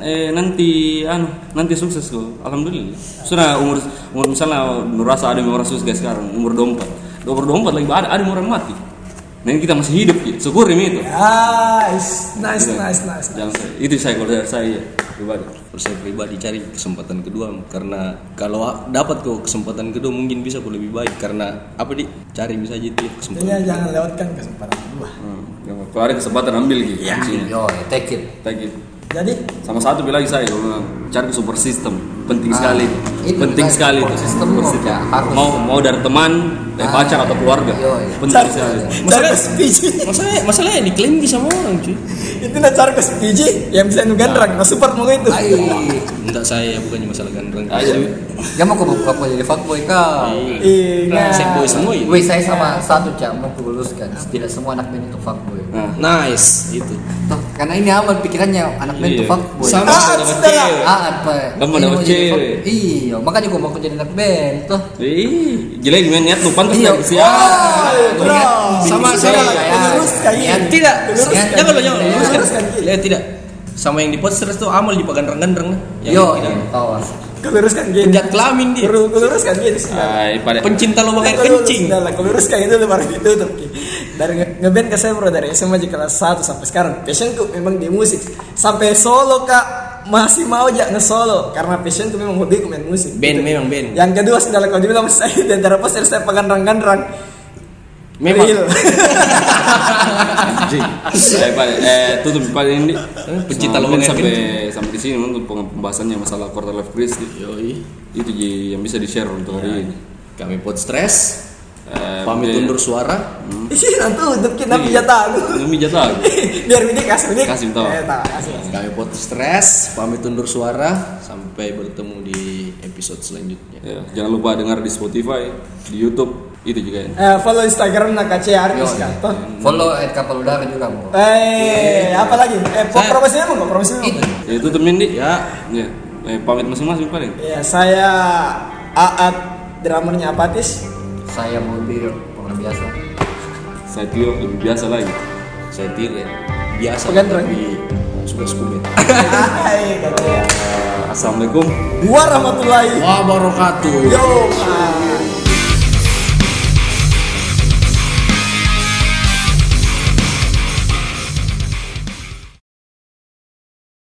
S2: eh, nanti anu nanti sukses kok alhamdulillah sudah umur umur misalnya merasa ada yang orang sukses kayak sekarang umur 24 umur 24 lagi ada ada yang orang mati Nah kita masih hidup gitu, syukurin itu.
S1: Nice, nice,
S2: Jangan-
S1: nice, nice. nice.
S2: jangan saya- itu saya kalau saya- saya iya, pribadi.
S4: Terus saya pribadi cari kesempatan kedua karena kalau a- dapat kok kesempatan kedua mungkin bisa kok lebih baik karena apa di cari bisa aja itu ya,
S1: Intinya
S4: kesempatan.
S1: jangan lewatkan kesempatan kedua.
S2: Hmm. yang waktu ada kesempatan ambil gitu. kuncinya.
S3: yo eh, take it
S2: Kayak gitu.
S1: Jadi
S2: Sama satu lagi saya kalau bilang, cari super system penting
S3: Ah,
S2: sekali.
S3: itu
S2: penting
S3: tadi,
S2: sekali
S3: support
S2: itu.
S3: system
S2: Support
S3: mau-
S2: system.
S3: harus.
S2: Mau mau dari teman, dari
S3: Ah,
S2: pacar atau keluarga.
S3: iya, iya.
S2: Penting
S1: cara
S2: sekali.
S1: cara sepiji
S4: Masalahnya masalahnya diklaim bisa sama orang cuy.
S1: itu nah cara sepiji yang bisa nugandrang nah support mau itu.
S3: Ayo,
S4: Enggak saya bukannya masalah gandrang.
S2: Ayo.
S3: jangan Ya, mau kau buka apa jadi fuckboy kau.
S1: Ingat.
S4: Nah, Saya boy semua iya. itu.
S3: Wih, saya sama satu cak mau aku luluskan. Tidak semua anak band itu fuckboy.
S2: Nah,
S4: Nice gitu. itu.
S3: Tuh, karena ini aman pikirannya anak band itu
S2: Iya.
S3: fuckboy.
S4: Sama
S1: Ah,
S4: sama dapat
S1: sudah.
S4: cewek.
S3: Ah, apa?
S2: Kamu
S3: Ini
S2: dapat
S3: mau jadi
S2: cewek.
S3: fuck- Iya, makanya gua mau jadi anak band tuh.
S2: Ih, jelek gue niat lu pantas
S3: Iya.
S2: nggak sih? Ah.
S1: bro.
S4: Sama
S1: Ini
S4: saya, iya.
S1: sudah
S3: ya.
S1: luruskan ini.
S4: Tidak.
S1: Luruskan.
S4: kan? Jangan lo jangan
S1: Luruskan.
S4: luruskan. Lihat tidak. sama yang di poster itu amal di gandreng-gandreng yang
S3: Yo,
S4: tidak.
S3: awas.
S1: Kau luruskan gini.
S4: Penjahat kelamin dia.
S1: Kau kau luruskan gini. sudah.
S2: Ay, Nah, pada
S4: Pencinta lubang air
S1: Kau lurus,
S4: kencing.
S1: sudah lah, kau luruskan itu udah baru ditutup. Ki. Dari nge- ngeband ke saya bro dari SMA aja kelas 1 sampai sekarang. Passionku memang di musik. Sampai solo kak masih mau aja nge-solo karena passionku memang hobiku main musik. Gitu.
S4: Band memang band.
S1: Yang kedua sudah kalau dibilang saya di antara poster saya pagandrang-gandrang.
S4: Memang.
S1: Real.
S2: anjing. eh, pada eh tutup pada ini.
S4: pencinta
S2: Nah,
S4: lubang air
S2: sampai
S4: kencing.
S2: sampai di sini untuk pembahasannya masalah quarter life crisis. Itu Ji, yang bisa di-share untuk hari ini.
S4: Kami pot stres.
S2: Eh,
S4: Ya. Pamit
S2: mungkin-
S4: undur suara.
S1: Ih, nanti untuk kita
S2: Iya.
S1: pijat aku.
S2: Nami jatah aku.
S1: Biar ini kasih ini.
S2: Kasih, tau.
S1: Eh, tau, kasih. kasih.
S4: Kami pot stres. Pamit undur suara. Sampai bertemu di episode selanjutnya.
S2: Ya, jangan lupa dengar di Spotify, di YouTube, itu juga ya.
S1: Eh, follow Instagram Nakace Artis
S3: Yo,
S1: kan. toh.
S3: Follow at kapal udara juga bro.
S1: Eh, apa lagi? Eh, po-
S4: Saya-
S1: promosi apa? kok? Promosi apa?
S3: Itu.
S2: Ya itu temen di.
S4: Ya.
S2: Ya. Eh, pamit masing-masing paling.
S1: Ya, saya Aat drummernya Apatis.
S3: Saya mobil luar biasa.
S2: Saya Tio lebih biasa lagi.
S4: Saya tiri. Biasa.
S1: Pegandreng.
S4: Tapi suka sekumet.
S1: Hai, katanya.
S2: Assalamualaikum.
S1: Warahmatullahi.
S4: Wah barokatul.
S1: Yo, Pak.